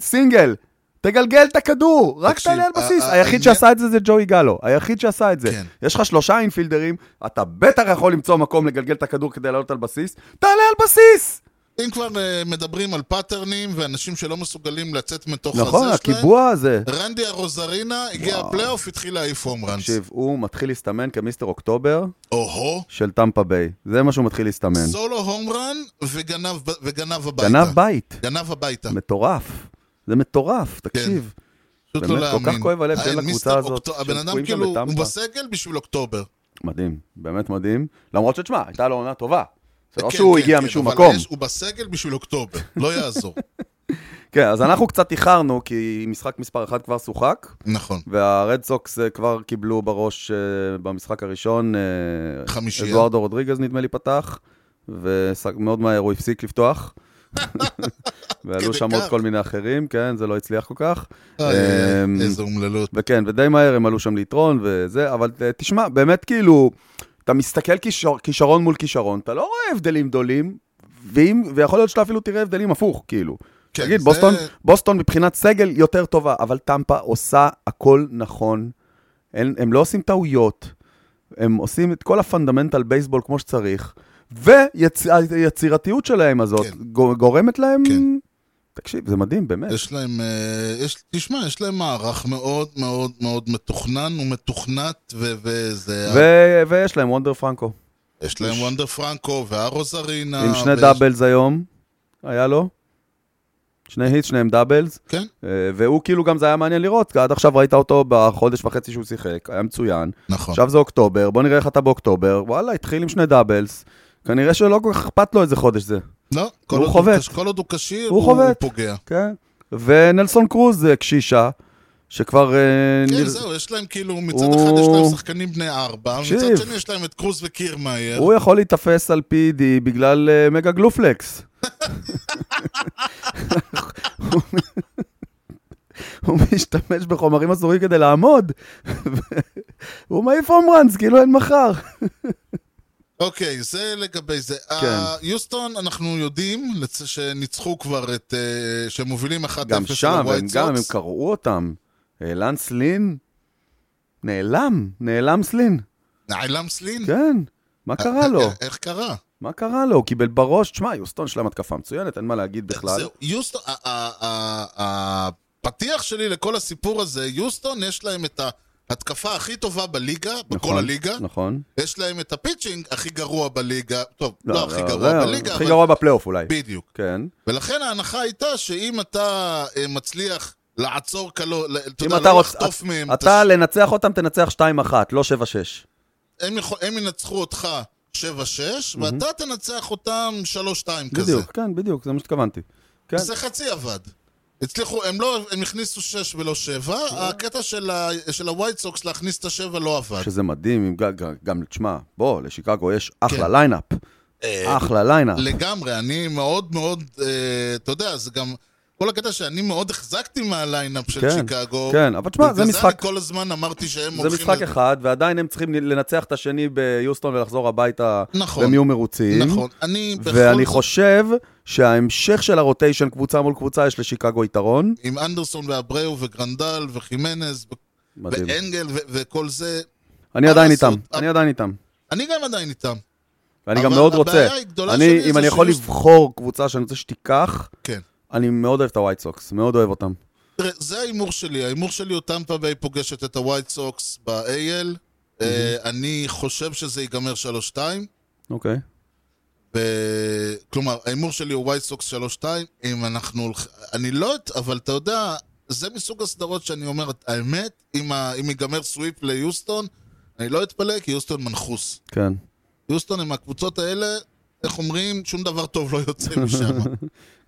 Speaker 2: סינגל, תגלגל את הכדור, רק
Speaker 1: תקשיב,
Speaker 2: תעלה על בסיס.
Speaker 1: ה- ה-
Speaker 2: היחיד
Speaker 1: העניין-
Speaker 2: שעשה את זה זה ג'וי גלו, היחיד שעשה את זה.
Speaker 1: כן.
Speaker 2: יש לך שלושה אינפילדרים, אתה בטח יכול למצוא מקום לגלגל את הכדור כדי לעלות על בסיס, תעלה על בסיס!
Speaker 1: אם כבר אה, מדברים על פאטרנים ואנשים שלא מסוגלים לצאת מתוך
Speaker 2: נכון,
Speaker 1: הזה שלהם,
Speaker 2: הקיבוע הזה.
Speaker 1: רנדי הרוזרינה הגיע הפלייאוף, התחיל להעיף הום ראנס.
Speaker 2: תקשיב, הוא מתחיל להסתמן כמיסטר אוקטובר
Speaker 1: אוהו,
Speaker 2: של טמפה ביי. זה מה שהוא מתחיל להסתמן.
Speaker 1: סולו הום ראן וגנב ב- וגנב הביתה.
Speaker 2: גנב בית.
Speaker 1: גנב הביתה.
Speaker 2: מטורף. זה מטורף,
Speaker 1: כן.
Speaker 2: תקשיב.
Speaker 1: פשוט
Speaker 2: באמת,
Speaker 1: לא
Speaker 2: כל כך
Speaker 1: להאמין.
Speaker 2: כואב הלב שאין
Speaker 1: אין,
Speaker 2: לקבוצה
Speaker 1: מיסטר
Speaker 2: הזאת,
Speaker 1: אוקטו- הבן אדם
Speaker 2: שתקועים שם
Speaker 1: כאילו, הוא
Speaker 2: בטמפה.
Speaker 1: בסגל בשביל אוקטובר.
Speaker 2: מדהים, באמת מדהים. למרות שתשמע, הייתה לו עונה טובה. זה לא
Speaker 1: כן,
Speaker 2: שהוא
Speaker 1: כן,
Speaker 2: הגיע
Speaker 1: כן,
Speaker 2: משום
Speaker 1: אבל
Speaker 2: מקום.
Speaker 1: יש- הוא בסגל בשביל אוקטובר, לא
Speaker 2: *laughs*
Speaker 1: יעזור.
Speaker 2: כן, אז אנחנו קצת איחרנו, כי משחק מספר 1 כבר שוחק,
Speaker 1: נכון.
Speaker 2: והרד סוקס אה, כבר קיבלו בראש אה, במשחק הראשון. אה,
Speaker 1: חמישייה. *laughs*
Speaker 2: אדוארדו רודריגז נדמה לי פתח, ומאוד מהר הוא הפסיק לפתוח. *laughs* ועלו
Speaker 1: כדי
Speaker 2: שם
Speaker 1: כך?
Speaker 2: עוד כל מיני אחרים, כן, זה לא הצליח כל כך.
Speaker 1: איי,
Speaker 2: אמ,
Speaker 1: איזו אה, אומללות.
Speaker 2: וכן, ודי מהר הם עלו שם ליתרון וזה, אבל אה, תשמע, באמת כאילו, אתה מסתכל כישור, כישרון מול כישרון, אתה לא רואה הבדלים גדולים, ואם, ויכול להיות שאתה אפילו תראה הבדלים הפוך, כאילו.
Speaker 1: כן,
Speaker 2: תגיד,
Speaker 1: זה-
Speaker 2: בוסטון, בוסטון מבחינת סגל יותר טובה, אבל טמפה עושה הכל נכון. אין, הם לא עושים טעויות, הם עושים את כל הפונדמנטל בייסבול כמו שצריך, והיצירתיות שלהם הזאת
Speaker 1: כן.
Speaker 2: כן. גורמת להם...
Speaker 1: כן.
Speaker 2: תקשיב, זה מדהים, באמת.
Speaker 1: יש להם, אה, יש, תשמע, יש להם מערך מאוד מאוד מאוד מתוכנן ומתוכנת, ו- וזה...
Speaker 2: ו- ויש להם וונדר פרנקו.
Speaker 1: יש להם וונדר פרנקו, והרוזרינה...
Speaker 2: עם שני
Speaker 1: ויש-
Speaker 2: דאבלס היום, היה לו. שני היט, שניהם דאבלס.
Speaker 1: כן,
Speaker 2: אה, והוא כאילו גם זה היה מעניין לראות, כי עד עכשיו ראית אותו בחודש וחצי שהוא שיחק, היה מצוין.
Speaker 1: נכון.
Speaker 2: עכשיו זה אוקטובר, בוא נראה איך אתה באוקטובר. וואלה, התחיל עם שני דאבלס. כנראה שלא כל כך אכפת לו איזה חודש זה,
Speaker 1: לא, כל
Speaker 2: הוא
Speaker 1: עוד
Speaker 2: חובט.
Speaker 1: קש- כל עוד הוא כשיר, הוא,
Speaker 2: הוא
Speaker 1: הוא,
Speaker 2: חובט.
Speaker 1: פוגע.
Speaker 2: כן? ונלסון קרוז אה, קשישה, שכבר... אה,
Speaker 1: כן,
Speaker 2: נר-
Speaker 1: זהו, יש להם כאילו, מצד
Speaker 2: הוא-
Speaker 1: אחד יש להם שחקנים בני ארבע,
Speaker 2: תקשיב.
Speaker 1: מצד שני יש להם את קרוז וקירמאייר.
Speaker 2: הוא יכול להיתפס על PD בגלל אה, מגה גלופלקס. *laughs* הוא משתמש בחומרים אסורים כדי לעמוד. *laughs* הוא מעיף הומרנס, כאילו אין מחר.
Speaker 1: אוקיי, זה לגבי זה.
Speaker 2: כן.
Speaker 1: אה, יוסטון, אנחנו יודעים לצ- שניצחו כבר את... אה, שהם מובילים 1-0
Speaker 2: גם שם,
Speaker 1: לווייט
Speaker 2: הם גם, הם
Speaker 1: סוקס.
Speaker 2: קרעו אותם. לנס לין נעלם, נעלם סלין,
Speaker 1: נעלם סלין?
Speaker 2: כן. מה קרה לו?
Speaker 1: אה, איך קרה?
Speaker 2: מה קרה לו? הוא קיבל בראש, תשמע, יוסטון שלהם התקפה מצוינת, אין מה להגיד בכלל.
Speaker 1: זהו, יוסטון, ה- ה- ה- ה- הפתיח שלי לכל הסיפור הזה, יוסטון יש להם את ההתקפה הכי טובה בליגה, בכל
Speaker 2: נכון,
Speaker 1: הליגה.
Speaker 2: נכון.
Speaker 1: יש להם את הפיצ'ינג הכי גרוע בליגה, טוב,
Speaker 2: לא,
Speaker 1: לא הכי
Speaker 2: לא,
Speaker 1: גרוע
Speaker 2: לא,
Speaker 1: בליגה,
Speaker 2: הכי
Speaker 1: אבל
Speaker 2: גרוע בפלייאוף אולי.
Speaker 1: בדיוק.
Speaker 2: כן.
Speaker 1: ולכן ההנחה הייתה שאם אתה אה, מצליח לעצור קלו, ל- אתה
Speaker 2: אם
Speaker 1: יודע,
Speaker 2: אתה
Speaker 1: לא
Speaker 2: רוצ...
Speaker 1: לחטוף מהם,
Speaker 2: אתה
Speaker 1: אתה-
Speaker 2: לנצח אותם, תנצח 2-1, לא 7-6.
Speaker 1: הם יכול- הם ינצחו אותך 7-6, ואתה תנצח אותם 3-2 כזה.
Speaker 2: בדיוק, כן, בדיוק, זה מה שהתכוונתי. כן,
Speaker 1: זה חצי עבד. הצליחו, הם לא, הם הכניסו 6 ולא 7, הקטע של ה- של הווייט סוקס להכניס את ה-7 לא עבד.
Speaker 2: לא. שזה מדהים, עם... ג- ג- גם, תשמע, בוא, לשיקגו יש אחלה
Speaker 1: כן.
Speaker 2: ליינאפ.
Speaker 1: אה,
Speaker 2: אחלה ליינאפ.
Speaker 1: לגמרי, אני מאוד מאוד, אה, אתה יודע, זה גם... כל הקטע שאני מאוד החזקתי מהליינאפ של
Speaker 2: כן,
Speaker 1: שיקגו.
Speaker 2: כן, אבל תשמע, זה
Speaker 1: בגלל
Speaker 2: משחק-
Speaker 1: אני כל הזמן אמרתי שהם
Speaker 2: זה
Speaker 1: הולכים...
Speaker 2: משחק
Speaker 1: לד-
Speaker 2: אחד, ועדיין הם צריכים לנצח את השני ביוסטון ולחזור הביתה,
Speaker 1: נכון.
Speaker 2: והם יהיו מרוצים.
Speaker 1: נכון, אני בכל
Speaker 2: ואני
Speaker 1: זאת,
Speaker 2: חושב שההמשך של הרוטיישן קבוצה מול קבוצה, יש לשיקגו יתרון.
Speaker 1: עם אנדרסון ואבריאו וגרנדל וחימנז ו-
Speaker 2: מדהים.
Speaker 1: ואנגל ו- וכל זה,
Speaker 2: אני עדיין
Speaker 1: לעשות?
Speaker 2: איתם, אני עדיין איתם.
Speaker 1: אני גם עדיין איתם.
Speaker 2: ואני גם
Speaker 1: אבל
Speaker 2: מאוד
Speaker 1: הבעיה
Speaker 2: רוצה.
Speaker 1: הגדולה שלי
Speaker 2: אני,
Speaker 1: זה
Speaker 2: אם אני יכול
Speaker 1: שיש-
Speaker 2: לבחור קבוצה שאני רוצה שתיקח,
Speaker 1: כן.
Speaker 2: אני מאוד אוהב את הווייט סוקס, מאוד אוהב אותם.
Speaker 1: תראה, זה ההימור שלי. ההימור שלי הוא טמפה ביי פוגשת את הווייט סוקס ב-AL. אה, אני חושב שזה ייגמר 3-2.
Speaker 2: אוקיי.
Speaker 1: ו- כלומר, ההימור שלי הוא ווייט סוקס 3-2. אם אנחנו... הולכ- אני לא... את- אבל אתה יודע, זה מסוג הסדרות שאני אומר, האמת, אם ה- אם ייגמר סוויפ ליוסטון, אני לא אתפלא, כי יוסטון מנחוס.
Speaker 2: כן.
Speaker 1: יוסטון הם הקבוצות האלה, איך אומרים, שום דבר טוב לא יוצא
Speaker 2: *laughs*
Speaker 1: משם.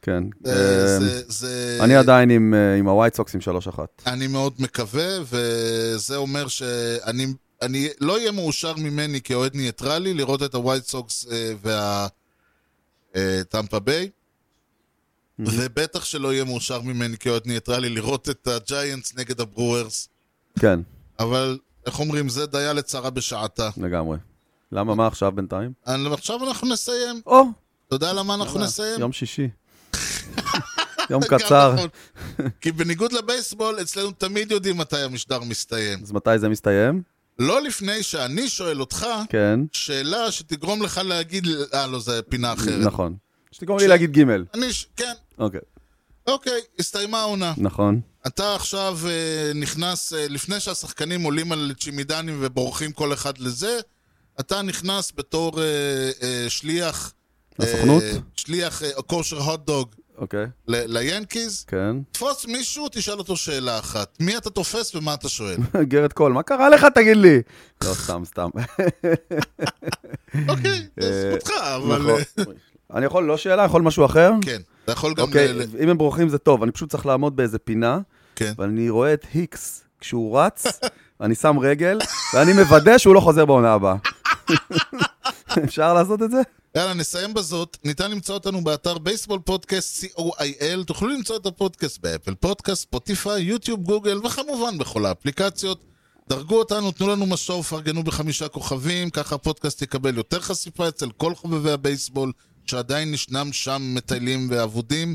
Speaker 2: כן.
Speaker 1: אה,
Speaker 2: אמ,
Speaker 1: זה- זה...
Speaker 2: אני עדיין עם, אה, עם הווייט סוקס עם 3-1.
Speaker 1: אני מאוד מקווה, וזה אומר שאני אני לא אהיה מאושר ממני כאוהד ניטרלי לראות את הווייט סוקס אה, וה... אה, טמפה ביי,
Speaker 2: Mm-hmm.
Speaker 1: ובטח שלא יהיה מאושר ממני כאוהד ניטרלי לראות את הג'יינטס נגד הברוורס,
Speaker 2: כן, אבל
Speaker 1: אבל איך אומרים, זה דיה לצרה בשעתה.
Speaker 2: לגמרי. למה, מה עכשיו בינתיים?
Speaker 1: אבל עכשיו אנחנו נסיים.
Speaker 2: או, אה,
Speaker 1: אתה יודע למה אנחנו נסיים?
Speaker 2: יום
Speaker 1: *laughs*
Speaker 2: שישי. יום
Speaker 1: גם
Speaker 2: קצר. *laughs*
Speaker 1: נכון. כי בניגוד לבייסבול, אצלנו תמיד יודעים מתי המשדר מסתיים.
Speaker 2: אז מתי זה מסתיים?
Speaker 1: לא לפני שאני שואל אותך,
Speaker 2: כן,
Speaker 1: שאלה שתגרום לך להגיד, אה, לא, זה פינה אחרת.
Speaker 2: נכון. שתגמור לי להגיד ג'
Speaker 1: אני, ש- כן,
Speaker 2: אוקיי.
Speaker 1: אוקיי, הסתיימה העונה.
Speaker 2: נכון.
Speaker 1: אתה עכשיו אה, נכנס, אה, לפני שהשחקנים עולים על צ'ימידנים ובורחים כל אחד לזה, אתה נכנס בתור אה, אה, שליח... אה,
Speaker 2: הסוכנות?
Speaker 1: שליח אה, כושר הוטדוג
Speaker 2: אוקיי,
Speaker 1: ל- ליאנקיז.
Speaker 2: כן. *laughs*
Speaker 1: תפוס מישהו, תשאל אותו שאלה אחת. מי אתה תופס ומה אתה
Speaker 2: *laughs*
Speaker 1: שואל?
Speaker 2: גרד קול, מה קרה לך תגיד לי? לא, סתם, סתם.
Speaker 1: אוקיי, זה זכותך, אבל... אה,
Speaker 2: נכון. אני יכול לא שאלה, יכול משהו אחר?
Speaker 1: כן, אתה יכול גם...
Speaker 2: אוקיי,
Speaker 1: ל- ל-
Speaker 2: אם הם בורחים זה טוב, אני פשוט צריך לעמוד באיזה פינה,
Speaker 1: כן.
Speaker 2: ואני רואה את היקס כשהוא רץ, אני שם רגל, ואני מוודא שהוא לא חוזר בעונה הבאה. אפשר לעשות את זה?
Speaker 1: יאללה, נסיים בזאת. ניתן למצוא אותנו באתר בייסבול פודקאסט co.il. תוכלו למצוא את הפודקאסט באפל פודקאסט, ספוטיפיי, יוטיוב, גוגל, וכמובן בכל האפליקציות. דרגו אותנו, תנו לנו משוב, פרגנו בחמישה כוכבים, ככה הפודקאסט יקבל יותר חשיפה אצל כל חובבי הבייסבול, שעדיין ישנם שם מטיילים ואבודים.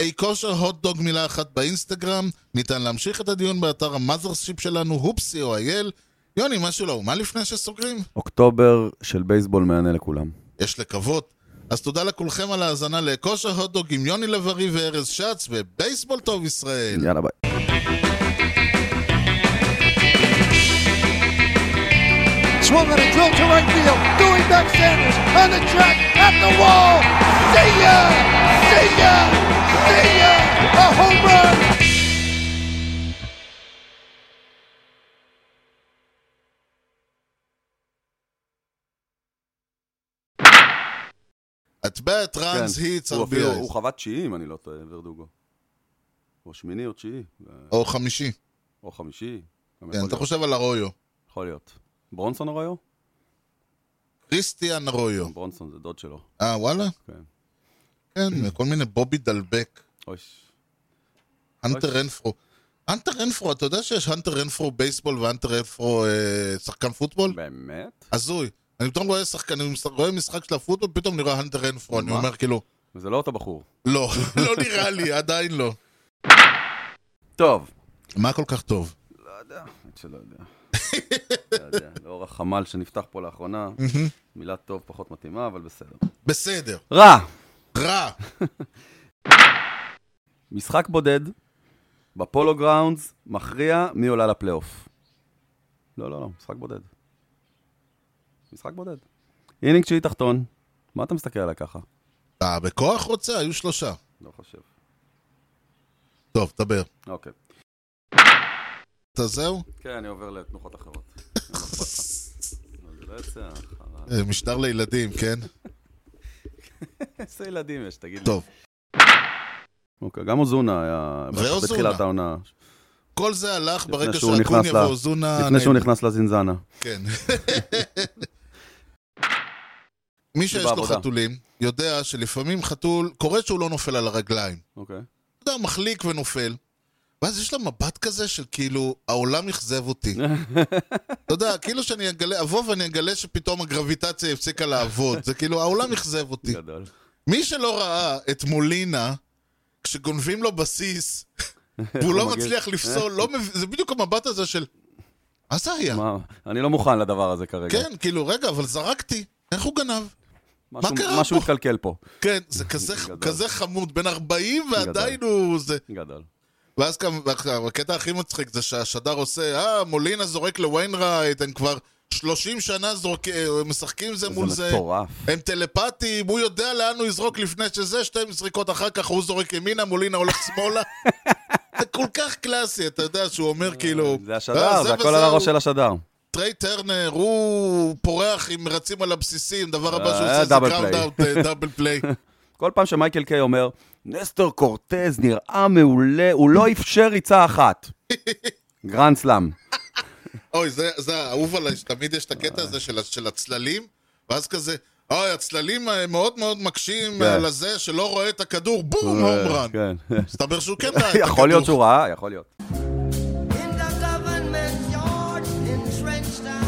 Speaker 1: אי כושר הוטדוג מילה אחת באינסטגרם, ניתן להמשיך את הדיון באתר המאזרשיפ שלנו, הופסי או אייל. יוני, משהו לאומה לפני שסוגרים?
Speaker 2: אוקטובר של בייסבול מהנה לכולם.
Speaker 1: יש לקוות. אז תודה לכולכם על ההאזנה לכושר הוטדוג עם יוני לב-ארי וארז שץ, ובייסבול טוב ישראל!
Speaker 2: יאללה ביי.
Speaker 6: Swung on a drill to right field. Doing back Sanders on the track at the wall. See ya! See ya! See ya! A home run!
Speaker 1: את בעת ראנס היטס
Speaker 2: כן. הוא אפילו- הוא
Speaker 1: RBI,
Speaker 2: חווה תשיעי, אם אני לא טועה, ורדוגו. או שמיני או תשיעי, אה,
Speaker 1: או חמישי.
Speaker 2: או חמישי. גם
Speaker 1: כן,
Speaker 2: יכול
Speaker 1: אתה
Speaker 2: להיות.
Speaker 1: חושב על הרויו.
Speaker 2: יכול להיות. ברונסון הרויו?
Speaker 1: כריסטיאן הרויו.
Speaker 2: ברונסון זה דוד שלו.
Speaker 1: אה, וואלה?
Speaker 2: כן.
Speaker 1: כן, כל מיני בובי דלבק,
Speaker 2: אויש. אוקיי.
Speaker 1: הנטר רנפרו. הנטר רנפרו, אתה יודע שיש הנטר רנפרו בייסבול והנטר רנפרו אה, שחקן פוטבול?
Speaker 2: באמת?
Speaker 1: הזוי. אני פתאום רואה שחקן, אני מס- רואה משחק של הפוטבול, פתאום נראה הנטר רנפרו, אני
Speaker 2: מה?
Speaker 1: אומר כאילו,
Speaker 2: וזה לא אותו בחור.
Speaker 1: לא, *laughs* לא נראה לי, עדיין לא.
Speaker 2: טוב.
Speaker 1: מה כל כך טוב?
Speaker 2: האמת שלא יודע. לא יודע. לאור החמ"ל שנפתח פה לאחרונה, מילה טוב פחות מתאימה, אבל בסדר.
Speaker 1: בסדר.
Speaker 2: רע!
Speaker 1: רע.
Speaker 2: משחק בודד, בפולו גראונדס, מכריע מי עולה לפלייאוף. לא, לא, לא, משחק בודד. משחק בודד. אינינג תשיעי תחתון, מה אתה מסתכל עליי ככה?
Speaker 1: אתה אה, בכוח רוצה? היו שלושה.
Speaker 2: לא חושב.
Speaker 1: טוב, דבר.
Speaker 2: אוקיי.
Speaker 1: אתה זהו?
Speaker 2: כן, אני עובר לתנוחות אחרות. לא אכפת לך. אבל זה לא יצא, חרא.
Speaker 1: אה, משדר לילדים, כן?
Speaker 2: *laughs* איזה ילדים יש, תגיד לי.
Speaker 1: טוב.
Speaker 2: אוקיי, גם אוזונה היה
Speaker 1: ואוזונה.
Speaker 2: בתחילת העונה.
Speaker 1: כל זה הלך ברגע
Speaker 2: שהוא נכנס
Speaker 1: שהקוניה
Speaker 2: ל-
Speaker 1: ואוזונה...
Speaker 2: לפני שהוא נכנס לזינזנה.
Speaker 1: כן. *laughs* מי שיש לו
Speaker 2: בעבודה.
Speaker 1: חתולים, יודע שלפעמים חתול, קורה שהוא לא נופל על הרגליים.
Speaker 2: אוקיי.
Speaker 1: אתה יודע, מחליק ונופל. ואז יש לה מבט כזה של כאילו, העולם אכזב
Speaker 2: *laughs*
Speaker 1: אותי. אתה יודע, כאילו שאני אגלה, אבוא ואני אגלה שפתאום הגרביטציה הפסיקה לעבוד. זה כאילו, העולם אכזב אותי.
Speaker 2: גדול.
Speaker 1: מי שלא ראה את מולינה, כשגונבים לו
Speaker 2: *laughs*
Speaker 1: בסיס, והוא
Speaker 2: הוא
Speaker 1: לא
Speaker 2: מגיב?
Speaker 1: מצליח לפסול, לא מב- זה בדיוק המבט הזה של... מה זה היה?
Speaker 2: מה, אני לא מוכן לדבר הזה כרגע.
Speaker 1: כן, כאילו, רגע, אבל זרקתי, איך הוא גנב?
Speaker 2: משהו-
Speaker 1: מה קרה
Speaker 2: משהו
Speaker 1: פה?
Speaker 2: התקלקל פה.
Speaker 1: כן,
Speaker 2: *laughs*
Speaker 1: זה כזה,
Speaker 2: גדול.
Speaker 1: כזה חמוד, בן 40 ועדיין
Speaker 2: גדול.
Speaker 1: הוא... זה...
Speaker 2: גדול.
Speaker 1: ואז כמ- והק- הקטע הכי מצחיק זה שהשדר עושה, אה, מולינה זורק לוויינרייט, הם כבר 30 שנה זורק... אה, משחקים זה מול
Speaker 2: זה
Speaker 1: זה.
Speaker 2: מטורף.
Speaker 1: הם טלפטים, הוא יודע לאן הוא יזרוק לפני שזה, שתי זריקות אחר כך הוא זורק ימינה, מולינה הולך
Speaker 2: *laughs*
Speaker 1: שמאלה. זה כל כך קלאסי, אתה יודע, שהוא אומר כאילו...
Speaker 2: זה
Speaker 1: "אה,
Speaker 2: השדר, זה הכל על
Speaker 1: וזהו."
Speaker 2: הראש של השדר.
Speaker 1: טריי טרנר, הוא פורח עם רצים על הבסיסים, דבר הבא שהוא
Speaker 2: אה,
Speaker 1: עושה זה
Speaker 2: דאבל
Speaker 1: גראונד
Speaker 2: פליי.
Speaker 1: אאוט, אה, דאבל פליי.
Speaker 2: *laughs* כל פעם שמייקל קיי אומר, נסטר קורטז נראה מעולה, הוא לא אפשר
Speaker 1: *laughs*
Speaker 2: ריצה אחת. גרנד סלאם.
Speaker 1: אוי, זה- זה האהוב עליי, שתמיד יש את הקטע
Speaker 2: אה.
Speaker 1: הזה של ה- של הצללים, ואז כזה, אוי, הצללים אה, מאוד מאוד מקשים
Speaker 2: כן.
Speaker 1: אה, לזה שלא רואה את הכדור, בום, הום רן. *laughs*
Speaker 2: כן. *laughs*
Speaker 1: מסתבר שהוא כן ראה את הכדור.
Speaker 2: יכול להיות שהוא ראה, יכול להיות.
Speaker 7: In the government yard, entrenched I